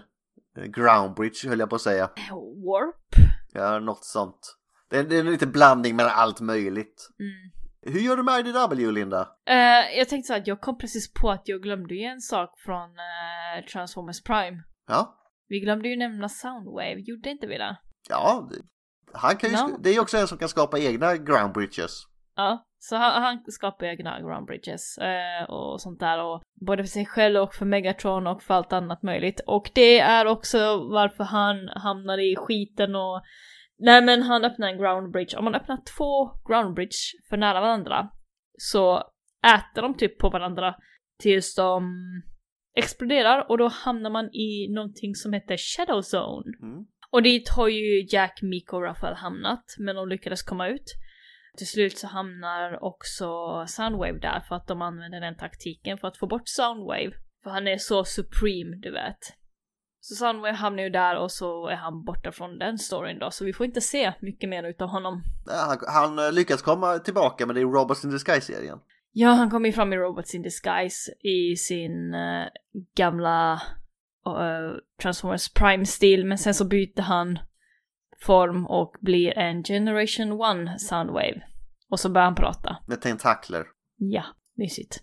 Speaker 2: eh, ground bridge höll jag på att säga.
Speaker 1: Eh, Warp?
Speaker 2: Ja, något sånt. Det är, det är en liten blandning mellan allt möjligt. Hur gör du med IDW, Linda?
Speaker 1: Eh, jag tänkte så att jag kom precis på att jag glömde ju en sak från eh, Transformers Prime.
Speaker 2: Ja,
Speaker 1: Vi glömde ju nämna Soundwave, gjorde inte vi det?
Speaker 2: ja. det- Han kan ju,
Speaker 1: No.
Speaker 2: Det är ju också en som kan skapa egna ground bridges.
Speaker 1: Ja, så han, han skapar egna ground bridges eh, och sånt där. Och både för sig själv och för Megatron och för allt annat möjligt. Och det är också varför han hamnar i skiten och... Nej men han öppnar en ground bridge. Om man öppnar två ground bridge för nära varandra så äter de typ på varandra tills de exploderar och då hamnar man i någonting som heter shadow zone.
Speaker 2: Mm.
Speaker 1: Och dit har ju Jack, Miko och Raphael hamnat men de lyckades komma ut. Till slut så hamnar också Soundwave där för att de använder den taktiken för att få bort Soundwave. För han är så supreme, du vet. Så Soundwave hamnar ju där och så är han borta från den storyn då, så vi får inte se mycket mer utav honom.
Speaker 2: Ja, Han, han eh, lyckas komma tillbaka men det är Robots in the Sky-serien.
Speaker 1: Ja, han kom ju fram i Robots in Disguise i sin eh, gamla eh, Transformers Prime-stil, men sen så byter han form och blir en Generation 1 Soundwave. Och så börjar han prata.
Speaker 2: Med tentakler.
Speaker 1: Ja, mysigt.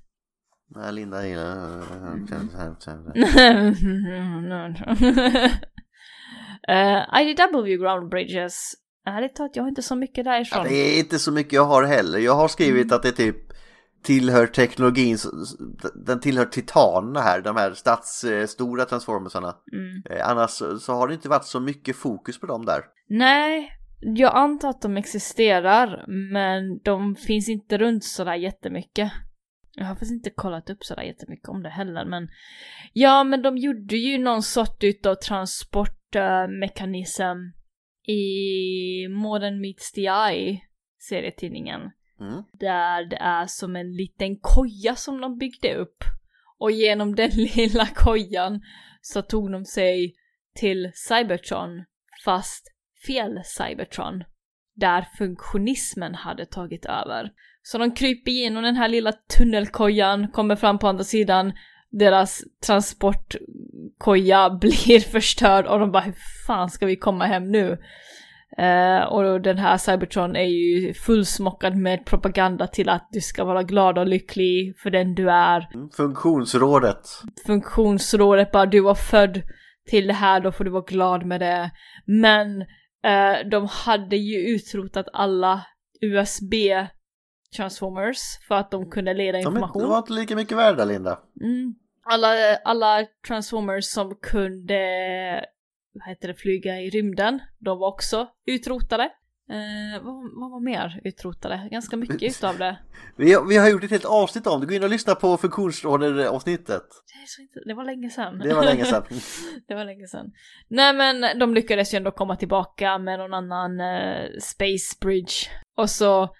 Speaker 2: Nej, Linda gillar...
Speaker 1: (laughs) Eh, IDW Ground Bridges. Ärligt talat, jag har inte så mycket
Speaker 2: Ja,
Speaker 1: därifrån.
Speaker 2: det är inte så mycket jag har heller. Jag har skrivit att det typ tillhör teknologin, den tillhör titanerna här, de här stadsstora transformersarna. Eh, Annars så så har det inte varit så mycket fokus på dem där.
Speaker 1: Nej, jag antar att de existerar, men de finns inte runt sådär jättemycket. Jag har faktiskt inte kollat upp sådär jättemycket om det heller, men... Ja, men de gjorde ju någon sort utav transport uh, mechanism i Modern Meets the Eye serietidningen.
Speaker 2: Mm.
Speaker 1: Där det är som en liten koja som de byggde upp. Och genom den (laughs) lilla kojan så tog de sig till Cybertron, fast fel Cybertron. Där funktionismen hade tagit över. Så de kryper igenom den här lilla tunnelkojan, kommer fram på andra sidan, deras transportkoja (laughs) blir förstörd och de bara hur fan ska vi komma hem nu? Eh, och då den här Cybertron är ju fullsmockad med propaganda till att du ska vara glad och lycklig för den du är.
Speaker 2: Mm, Funktionsrådet.
Speaker 1: Funktionsrådet bara du var född till det här, då får du vara glad med det. Men eh, de hade ju utrotat alla USB transformers för att de kunde leda
Speaker 2: De är-
Speaker 1: information.
Speaker 2: de var inte lika mycket värda, Linda.
Speaker 1: Mm. Alla, alla transformers som kunde vad heter det, flyga i rymden, de var också utrotade. Eh, vad, vad var mer utrotade? Ganska mycket utav det.
Speaker 2: Vi, har- vi har gjort ett helt avsnitt om det. Gå in och lyssna på funktionsrådet-avsnittet.
Speaker 1: Det, är så inte, det var länge sedan.
Speaker 2: Det var länge sedan.
Speaker 1: (laughs) det var länge sedan. Nej men de lyckades ju ändå komma tillbaka med någon annan eh, space bridge. Och så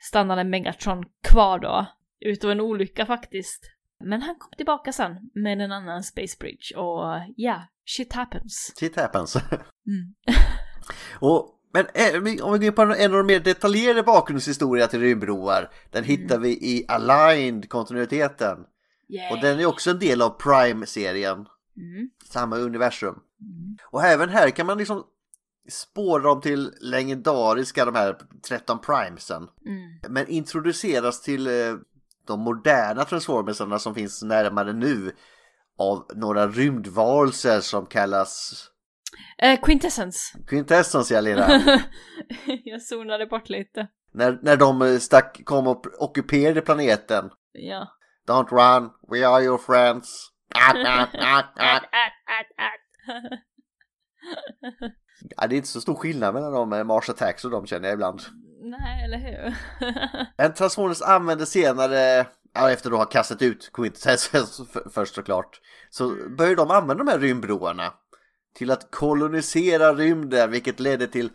Speaker 1: stannade Megatron kvar då. Utav en olycka faktiskt. Men han kom tillbaka sen med en annan space bridge och ja, yeah, shit happens.
Speaker 2: Shit happens.
Speaker 1: Mm.
Speaker 2: (laughs) Och, men eh, om vi går in på en en av de mer detaljerade bakgrundshistoria till rymdroar. Den
Speaker 1: Mm.
Speaker 2: hittar vi i Aligned-kontinuiteten.
Speaker 1: Yay.
Speaker 2: Och den är också en del av Prime-serien.
Speaker 1: Mm.
Speaker 2: samma universum. Och även här kan man liksom spåra dem till legendariska de här 13 primesen.
Speaker 1: Mm.
Speaker 2: Men introduceras till eh, de moderna transformersarna som finns närmare nu av några rymdvarelser som kallas
Speaker 1: Eh, quintessence. (laughs)
Speaker 2: Quintessons, jag lilla.
Speaker 1: Jag zonade bort lite.
Speaker 2: när, när de eh, stack, kom och ockuperade planeten.
Speaker 1: Ja.
Speaker 2: Don't run, we are your friends. Ah, ah, ah, ah.
Speaker 1: (laughs)
Speaker 2: Ja, det är inte så stor skillnad mellan de eh, Mars Attacks och de känner jag ibland.
Speaker 1: Nej, eller hur?
Speaker 2: En Transformers använder senare, ja, efter att ha kastat ut Quintessens (laughs) f- först såklart, så började de använda de här rymdbroarna till att kolonisera rymden, vilket ledde till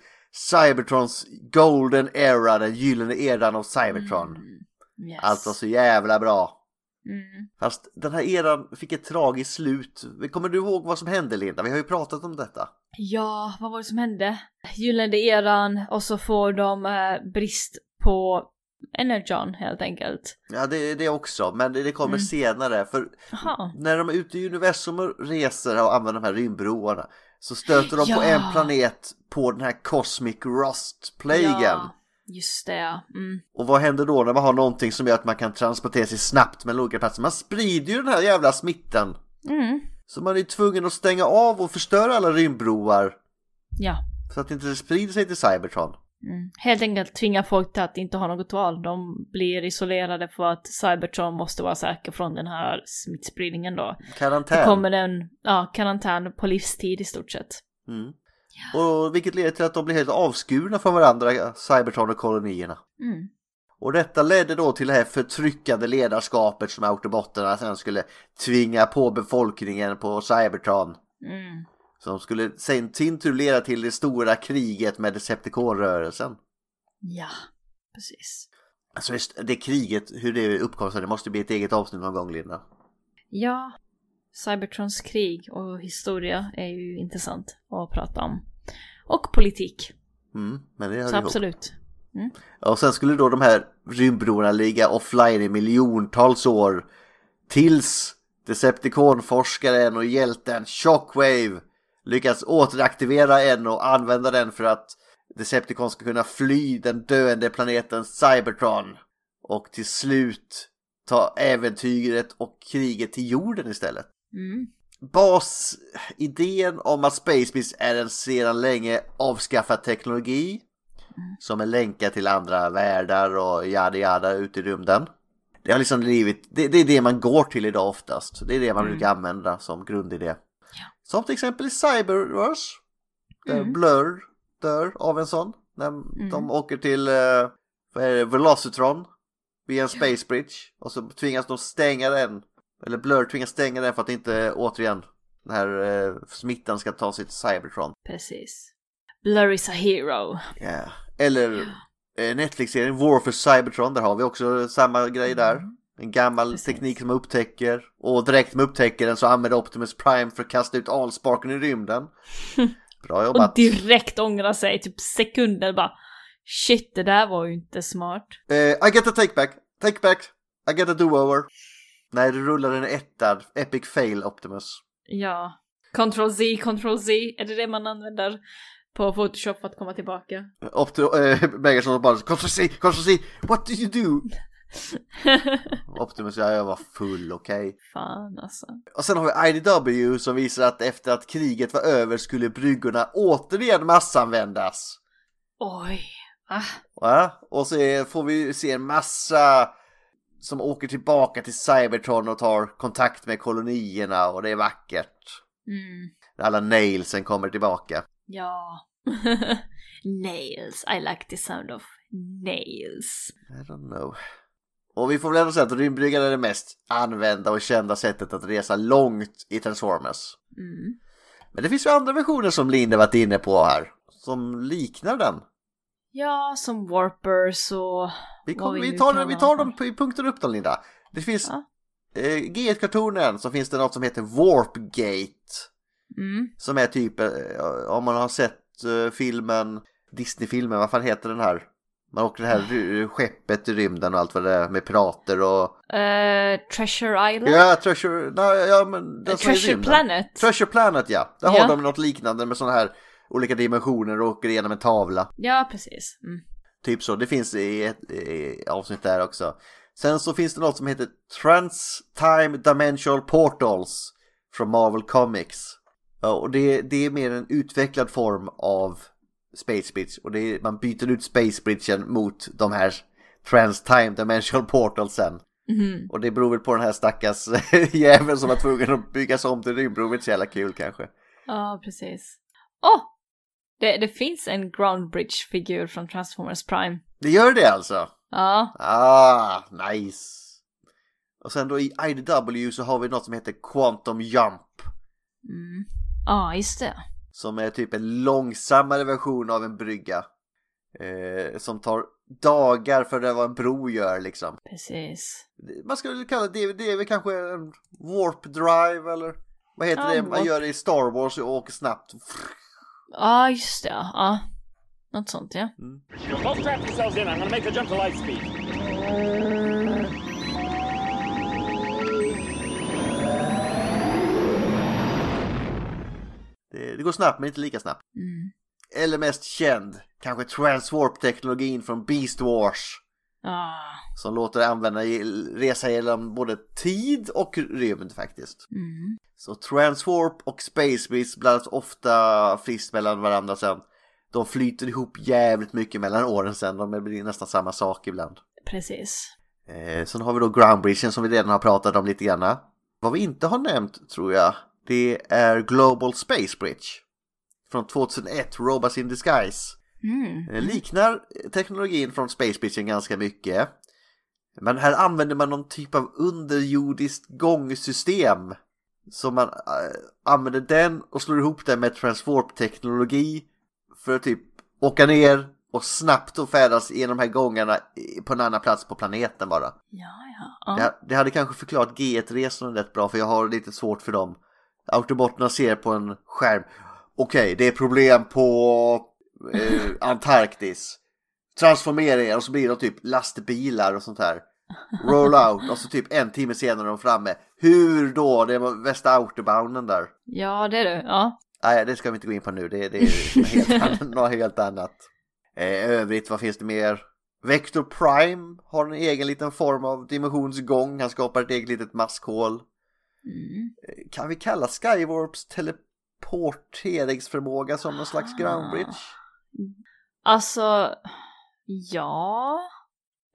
Speaker 2: Cybertrons Golden Era, den gyllene eran av
Speaker 1: (laughs) Mm.
Speaker 2: Cybertron.
Speaker 1: yes.
Speaker 2: Allt var Alltså, så jävla bra.
Speaker 1: Mm.
Speaker 2: Fast den här eran fick ett tragiskt slut. Kommer du ihåg vad som hände Linda? Vi har ju pratat om detta.
Speaker 1: Ja, vad var det som hände? Gyllene eran och så får de eh, brist på energon helt enkelt.
Speaker 2: Ja, det, det också, men det, det
Speaker 1: Mm.
Speaker 2: kommer senare. För
Speaker 1: Jaha.
Speaker 2: när de är ute i universum och reser och använder de här rymdbroarna så stöter de
Speaker 1: Ja.
Speaker 2: på en planet på den här Cosmic Rust-plagen.
Speaker 1: Ja, just det ja. Mm.
Speaker 2: Och vad händer då när man har någonting som gör att man kan transportera sig snabbt mellan olika platser? Man sprider ju den här jävla smitten.
Speaker 1: Mm.
Speaker 2: Så man är ju tvungen att stänga av och förstöra alla rymdbroar
Speaker 1: Ja.
Speaker 2: så att det inte sprider sig till Cybertron.
Speaker 1: Mm. Helt enkelt tvinga folk till att inte ha något val. De blir isolerade för att Cybertron måste vara säker från den här smittspridningen då. Det
Speaker 2: Karantän.
Speaker 1: kommer en ja, karantän på livstid i stort sett.
Speaker 2: Mm. Och vilket leder till att de blir helt avskurna från varandra, Cybertron och kolonierna.
Speaker 1: Mm.
Speaker 2: Och detta ledde då till det här förtryckande ledarskapet som Autobotterna sen skulle tvinga på befolkningen på Cybertron.
Speaker 1: Mm.
Speaker 2: Som skulle sen sin tur leda till det stora kriget med Decepticon-rörelsen.
Speaker 1: Ja, precis.
Speaker 2: Alltså just det kriget, hur det uppkom, så det måste bli ett eget avsnitt någon gång Linda.
Speaker 1: Ja, Cybertrons krig och historia är ju intressant att prata om. Och politik,
Speaker 2: Mm, men det hör
Speaker 1: så
Speaker 2: ihop.
Speaker 1: absolut.
Speaker 2: Och sen skulle då de här rymdbroarna ligga offline i miljontals år. Tills Decepticon-forskaren och hjälten Shockwave lyckas återaktivera en och använda den för att Decepticon ska kunna fly den döende planeten Cybertron. Och till slut ta äventyret och kriget till jorden istället.
Speaker 1: Mm.
Speaker 2: Basidén om att Space Beast är en sedan länge avskaffad teknologi som är länkad till andra världar och jada jada ut i rymden. Det har liksom blivit, det, det är det man går till idag oftast. Det är det man brukar använda som grundidé. Som till exempel i Cyberverse. Där Blur dör av en sån. När de åker till eh, vad är det, Velocitron via en Space Bridge. Och så tvingas de stänga den. Eller Blur tvingas stänga den för att inte återigen När eh, smittan ska ta sig till Cybertron.
Speaker 1: Precis. Blur is a hero.
Speaker 2: Ja. Eller eh, Netflix-serien War for Cybertron, där har vi också samma grej där. En gammal teknik som upptäcker och direkt man upptäcker den så använder Optimus Prime för att kasta ut alsparken i rymden. Bra
Speaker 1: Och
Speaker 2: jobbat.
Speaker 1: direkt ångrar sig, typ sekunder bara. Shit, det där var ju inte smart.
Speaker 2: Eh, I get a take back, take back, I get a do over. Nej, du rullar en ettad, epic fail Optimus.
Speaker 1: Ja. Ctrl Z, Ctrl Z, är det det man använder på Photoshop för att komma tillbaka?
Speaker 2: Opti- eh, (laughs) Megatron bara Konstantin, Konstantin, what do you do? Optimus, ja jag var full, okej.
Speaker 1: Fan alltså.
Speaker 2: Och sen har vi IDW som visar att efter att kriget var över skulle bryggorna återigen massanvändas.
Speaker 1: Oj. Ah.
Speaker 2: Va? Och så är- får vi se en massa som åker tillbaka till Cybertron och tar kontakt med kolonierna och det är vackert.
Speaker 1: Mm.
Speaker 2: Alla nailsen kommer tillbaka.
Speaker 1: Ja. (laughs) nails. I like the sound of nails.
Speaker 2: I don't know. Och vi får väl ändå säga att rymdbryggan är det mest använda och kända sättet att resa långt i Transformers.
Speaker 1: Mm.
Speaker 2: Men det finns ju andra versioner som Linda varit inne på här, som liknar den.
Speaker 1: Ja, som warpers och...
Speaker 2: Vi,
Speaker 1: Vad
Speaker 2: kom,
Speaker 1: vill
Speaker 2: vi,
Speaker 1: du
Speaker 2: tar,
Speaker 1: kalla
Speaker 2: vi
Speaker 1: dem för?
Speaker 2: tar dem i punkter upp dem Linda. Det finns
Speaker 1: Ja.
Speaker 2: eh, G1-kartonen så finns det något som heter Warpgate.
Speaker 1: Mm.
Speaker 2: Som är typ, eh, om man har sett eh, filmen, Disney-filmen, vad fan heter den här? Man åker det
Speaker 1: Ah.
Speaker 2: här ry- skeppet i rymden och allt vad det är med pirater och...
Speaker 1: Eh, Treasure Island?
Speaker 2: Ja, Treasure... Nej, ja, men den som är i
Speaker 1: Treasure
Speaker 2: rymden.
Speaker 1: Planet.
Speaker 2: Treasure Planet, ja. Där
Speaker 1: Ja.
Speaker 2: har de något liknande med sådana här olika dimensioner och åker igenom en tavla.
Speaker 1: Ja, precis. Mm.
Speaker 2: Typ så, det finns i ett i avsnitt där också. Sen så finns det något som heter Trans-Time Dimensional Portals från Marvel Comics. Ja, och det, det är mer en utvecklad form av Space Bridge och det är, man byter ut Space Bridgen mot de här Trans-Time Dimensional Portalsen. Och det beror väl på den här stackars (laughs) jäveln som var tvungen att byggas om till rymden, det är väl inte så jävla kul kanske.
Speaker 1: Ja, precis. Åh! Oh! Det, det finns en Ground Bridge-figur från Transformers Prime.
Speaker 2: Det gör det alltså?
Speaker 1: Ja.
Speaker 2: Ah, nice! Och sen då i IDW så har vi något som heter Quantum Jump.
Speaker 1: Ja, just det.
Speaker 2: Som är typ en långsammare version av en brygga. Eh, som tar dagar för det vad en bro gör liksom.
Speaker 1: Precis.
Speaker 2: Man skulle väl kalla det, det är väl kanske en warp drive eller vad heter
Speaker 1: Ja,
Speaker 2: det man
Speaker 1: warp.
Speaker 2: gör i Star Wars och åker snabbt.
Speaker 1: Ja, just det. Ja. Något sånt, ja.
Speaker 5: You'll both strap yourselves in. I'm gonna make the jump to light speed.
Speaker 2: Det, det går snabbt men inte lika snabbt.
Speaker 1: Mm.
Speaker 2: Eller mest känd, kanske transwarp-teknologin från Beast Wars.
Speaker 1: Ja.
Speaker 2: Som låter användarna ge- resa genom både tid och rymd faktiskt. Så Transwarp och Space Beast blandas ofta friskt mellan varandra sen. De flyter ihop jävligt mycket mellan åren sen, de blir nästan samma sak ibland.
Speaker 1: Precis.
Speaker 2: Eh, sen har vi då Groundbridgen som vi redan har pratat om lite grann. Vad vi inte har nämnt tror jag, det är Global Space Bridge. Från 2001, Robots in Disguise.
Speaker 1: Mm.
Speaker 2: Den liknar teknologin från Space Bridgen ganska mycket. Men här använder man någon typ av underjordiskt gångsystem. Så man eh, använder den och slår ihop den med transwarp-teknologi för att typ åka ner och snabbt och färdas genom de här gångarna i- på en annan plats på planeten bara.
Speaker 1: Ja, ja. ja.
Speaker 2: Det, det hade kanske förklarat G1-resorna rätt bra för jag har lite svårt för dem. Autobotterna ser på en skärm. Okej, det är problem på eh, Antarktis. Transformera er och så blir de typ lastbilar och sånt här. Roll out och så typ en timme senare är de framme. Hur då? Det var västra autobahnen där.
Speaker 1: Ja, det är du. Ja.
Speaker 2: Nej, det ska vi inte gå in på nu. Det, det är liksom helt annan, något helt annat. Eh, övrigt, vad finns det mer? Vector Prime har en egen liten form av dimensionsgång. Han skapar ett eget litet maskhål.
Speaker 1: Mm.
Speaker 2: Eh, Kan vi kalla Skywarps teleporteringsförmåga som någon slags groundbridge?
Speaker 1: Alltså, ja.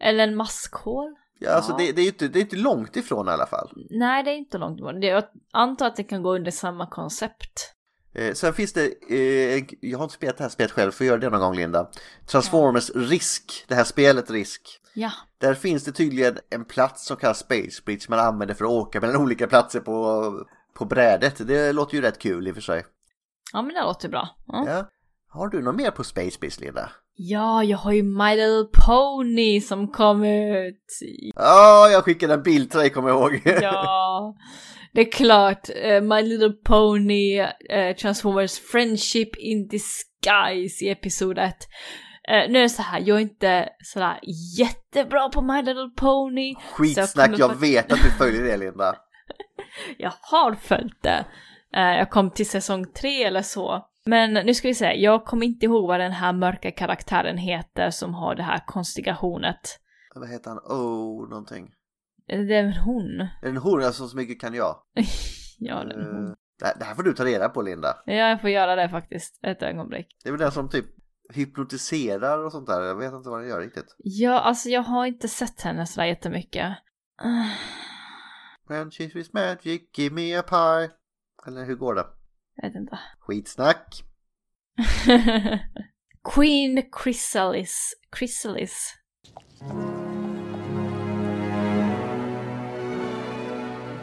Speaker 1: Eller en maskhål?
Speaker 2: Ja, alltså det, det, är ju inte, det är inte långt ifrån i alla fall.
Speaker 1: Nej, det är inte långt bort. Det- Jag antar att det kan gå under samma koncept.
Speaker 2: Eh, sen finns det, eh, en- jag har inte spelat det här spelet själv, får göra det någon gång Linda. Transformers Risk, det här spelet Risk.
Speaker 1: Ja.
Speaker 2: Där (laughs) finns det tydligen en plats som kallas Space Bridge man använder för att åka mellan olika platser på, på brädet. Det låter ju rätt kul i och för sig.
Speaker 1: Mm. Ja men det låter bra. Ja.
Speaker 2: Ja. Har du något mer på Space Beast, Linda?
Speaker 1: ja, jag har ju My Little Pony som kom (laughs) ut.
Speaker 2: Ja, jag skickade en bild till dig kommer jag ihåg. (laughs)
Speaker 1: Ja, det är klart. Eh, My Little Pony, eh, Transformers Friendship in Disguise i episod 1. Eh, nu är det så här, jag är inte sådär jättebra på My Little Pony. så jag
Speaker 2: Skitsnack,
Speaker 1: kommer
Speaker 2: jag
Speaker 1: fort-
Speaker 2: vet att du följer det Linda.
Speaker 1: jag har följt det. Eh, Jag kom till säsong tre eller så. Men nu ska vi se, jag kommer inte ihåg vad den här mörka karaktären heter som har det här konstiga hornet.
Speaker 2: Vad heter han? Oh, någonting.
Speaker 1: Eh, Det är väl hon?
Speaker 2: Är det en hora som så mycket kan jag?
Speaker 1: Ja, det är väl hon.
Speaker 2: Eh, Det här- det här får du ta reda på Linda.
Speaker 1: ja, jag får göra det faktiskt. Ett ögonblick.
Speaker 2: Det är väl den som typ hypnotiserar och sånt där. Jag vet inte vad den gör riktigt.
Speaker 1: Ja, alltså jag har inte sett henne sådär jättemycket. Ah,
Speaker 2: When she's with magic, give me a pie. Eller hur går det?
Speaker 1: Jag vet inte. (laughs)
Speaker 2: Skitsnack.
Speaker 1: Queen Chrysalis. Chrysalis.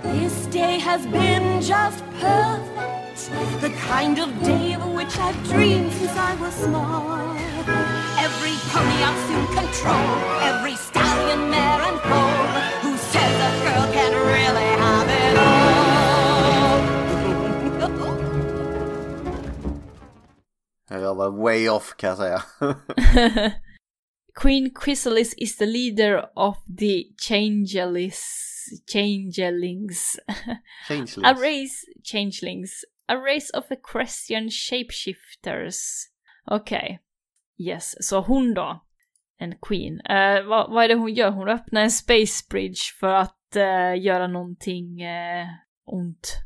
Speaker 8: This day has been just perfect, the kind of day of which I've dreamed since I was small. Every pony I'll soon control, every stallion, mare, and foal. Who says a girl can really have it all?
Speaker 2: Jag var way off kan
Speaker 1: (laughs)
Speaker 2: jag säga.
Speaker 1: Queen Chrysalis is the leader of the Changelis, Changelings. (laughs) a
Speaker 2: Changelings.
Speaker 1: race, Changelings. A race of equestrian shapeshifters. Okej. Yes, så hon då. En queen. Eh, vad, vad är det hon gör? Hon öppnar en space bridge för att eh, göra någonting eh, ont.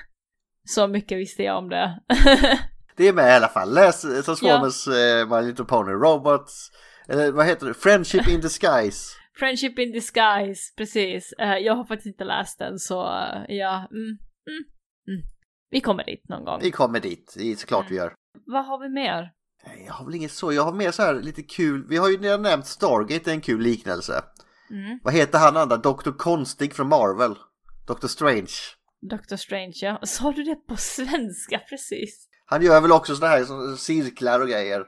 Speaker 1: (laughs) Så mycket visste jag om det. (laughs)
Speaker 2: Det är med i alla fall. Läs eh, Transformers, eh, My Little Pony Robots. Eller vad heter det? Friendship in disguise.
Speaker 1: Friendship in disguise, precis. Eh, jag har faktiskt inte läst den så eh, ja, mm, mm, mm. Vi kommer dit någon gång.
Speaker 2: Vi kommer dit. Det är såklart
Speaker 1: Mm.
Speaker 2: vi gör.
Speaker 1: Vad har vi mer?
Speaker 2: Nej, Jag har väl inget så, jag har mer så här lite kul, vi har ju redan nämnt Stargate, det är en kul liknelse.
Speaker 1: Mm.
Speaker 2: Vad heter han andra, Dr. Konstig från Marvel? Dr. Strange.
Speaker 1: Dr. Strange, ja. (laughs) Sa du det på svenska (laughs) precis?
Speaker 2: Han gör väl också sådana här som cirklar och grejer.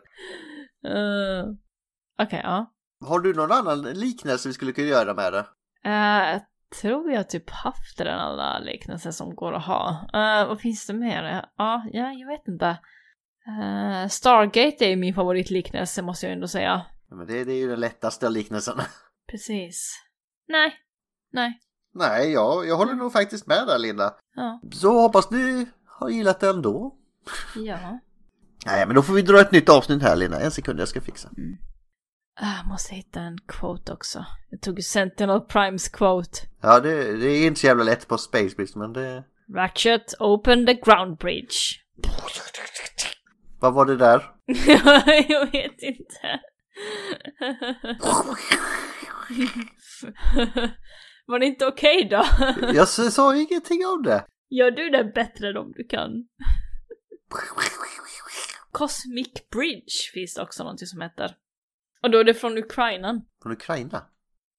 Speaker 1: Eh, Okej, ja.
Speaker 2: Har du någon annan liknelse vi skulle kunna göra med det?
Speaker 1: Eh, jag tror jag typ haft den alla liknelser som går att ha. Eh, vad finns det mer? Ja, ja jag vet inte. Eh, Stargate är ju min favoritliknelse måste jag ändå säga.
Speaker 2: Ja, Men det, det är ju den lättaste (laughs) liknelsen.
Speaker 1: Precis. Nej. Nej.
Speaker 2: Nej, jag, jag håller nog faktiskt med där Linda.
Speaker 1: Ja.
Speaker 2: Så hoppas ni har gillat det ändå.
Speaker 1: Ja.
Speaker 2: Nej, men då får vi dra ett nytt avsnitt här Linda, en sekund jag ska fixa.
Speaker 1: Ah, Jag måste hitta en quote också. Jag tog ju Sentinel Primes quote.
Speaker 2: Ja, det, det är inte så jävla lätt på Space Beast, men det...
Speaker 1: Ratchet, open the ground bridge. (laughs)
Speaker 2: Vad var det där?
Speaker 1: jag vet inte. (laughs) Var det inte okej då? (laughs)
Speaker 2: Jag s- sa ju ingenting om det.
Speaker 1: Gör du det bättre än om du kan? Cosmic Bridge finns det också någonting som heter. Och då är det från Ukraina.
Speaker 2: Från Ukraina?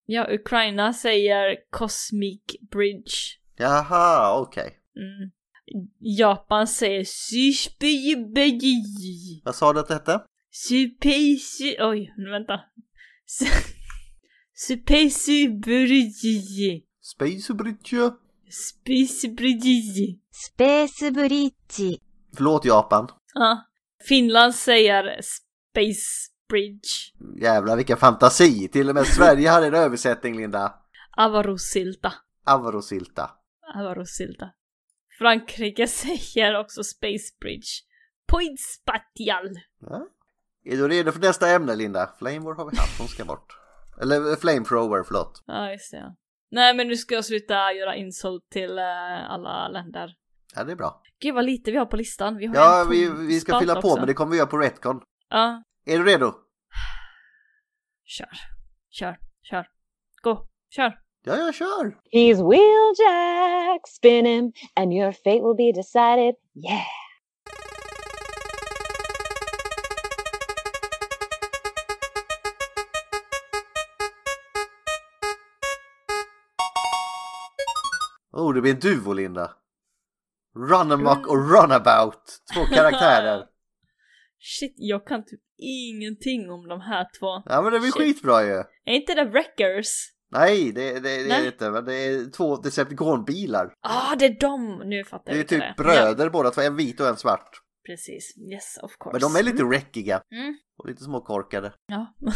Speaker 1: Ja, Ukraina säger Cosmic Bridge.
Speaker 2: Jaha, okej.
Speaker 1: Mm. Japan säger Syspybeji.
Speaker 2: Vad sa du att det hette?
Speaker 1: Sypejsi... Oj, nu vänta. Sypejsibriji.
Speaker 2: Space Bridge.
Speaker 1: Spisbriji.
Speaker 2: Förlåt Japan.
Speaker 1: Ja. Finland säger Space Bridge.
Speaker 2: Jävlar vilken fantasi! Till och med Sverige hade en översättning Linda.
Speaker 1: Avarosilta.
Speaker 2: Avrosilta.
Speaker 1: Avarosilta. Frankrike (laughs) säger också Space Bridge. Point spatial.
Speaker 2: Ja. Är du redo för nästa ämne Linda? Flamewar har vi haft, hon ska bort. Eller eh, Flamethrower, förlåt.
Speaker 1: Ja, just det. Ja. Nej, men nu ska jag sluta göra insult till eh, alla länder.
Speaker 2: Ja, det är bra.
Speaker 1: Gud vad lite vi har på listan. Vi har
Speaker 2: Ja,
Speaker 1: en
Speaker 2: vi,
Speaker 1: tom
Speaker 2: vi ska
Speaker 1: spalt
Speaker 2: fylla på,
Speaker 1: också.
Speaker 2: men det kommer vi göra på Retcon.
Speaker 1: Ja,
Speaker 2: Är du redo?
Speaker 1: kör. Kör, kör. Gå, kör.
Speaker 2: Ja, jag kör!
Speaker 10: He's Wheeljack, spin him, and your fate will be decided. Yeah.
Speaker 2: Oh, det blir en duo Linda. Runamuck och Runabout.
Speaker 1: (laughs)
Speaker 2: Två karaktärer.
Speaker 1: Shit, jag kan typ ingenting om de här två.
Speaker 2: Ja men det blir
Speaker 1: Shit.
Speaker 2: skitbra ju.
Speaker 1: Är inte det Wreckers?
Speaker 2: Nej, det, det, det är
Speaker 1: Nej.
Speaker 2: det inte. Men det är två Decepticon-bilar.
Speaker 1: Ah, det är dem! Nu fattar jag
Speaker 2: Det är ju
Speaker 1: vilka
Speaker 2: typ
Speaker 1: det. Ja,
Speaker 2: bröder båda två, en vit och en svart.
Speaker 1: precis. Yes, of course.
Speaker 2: Men de är lite räckiga.
Speaker 1: Mm.
Speaker 2: Och lite småkorkade.
Speaker 1: Ja. (laughs)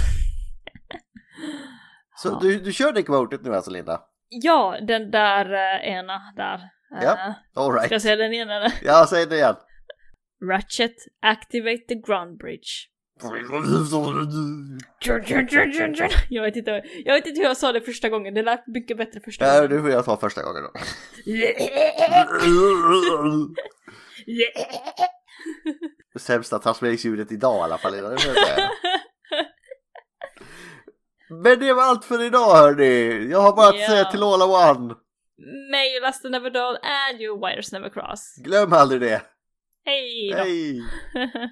Speaker 2: Så
Speaker 1: Ja.
Speaker 2: du, du kör det kvotet nu alltså Linda?
Speaker 1: ja, den där eh, ena där. Eh,
Speaker 2: Ja.
Speaker 1: Ska jag
Speaker 2: Alright.
Speaker 1: säga den ena där?
Speaker 2: Ja, säg det igen.
Speaker 1: Ratchet, activate the ground bridge. (laughs) Jag vet, inte, jag vet inte hur jag sa det första gången, det lät mycket bättre första
Speaker 2: Ja,
Speaker 1: gången.
Speaker 2: nu får jag ta första gången då. Det sämsta transplanteringsljudet idag i alla fall. det får jag säga. Men det var allt för idag hörni. Jag har bara att
Speaker 1: Ja.
Speaker 2: säga till alla one.
Speaker 1: May your last never dull and your wires never cross.
Speaker 2: Glöm aldrig det.
Speaker 1: Hej då!
Speaker 2: Hej!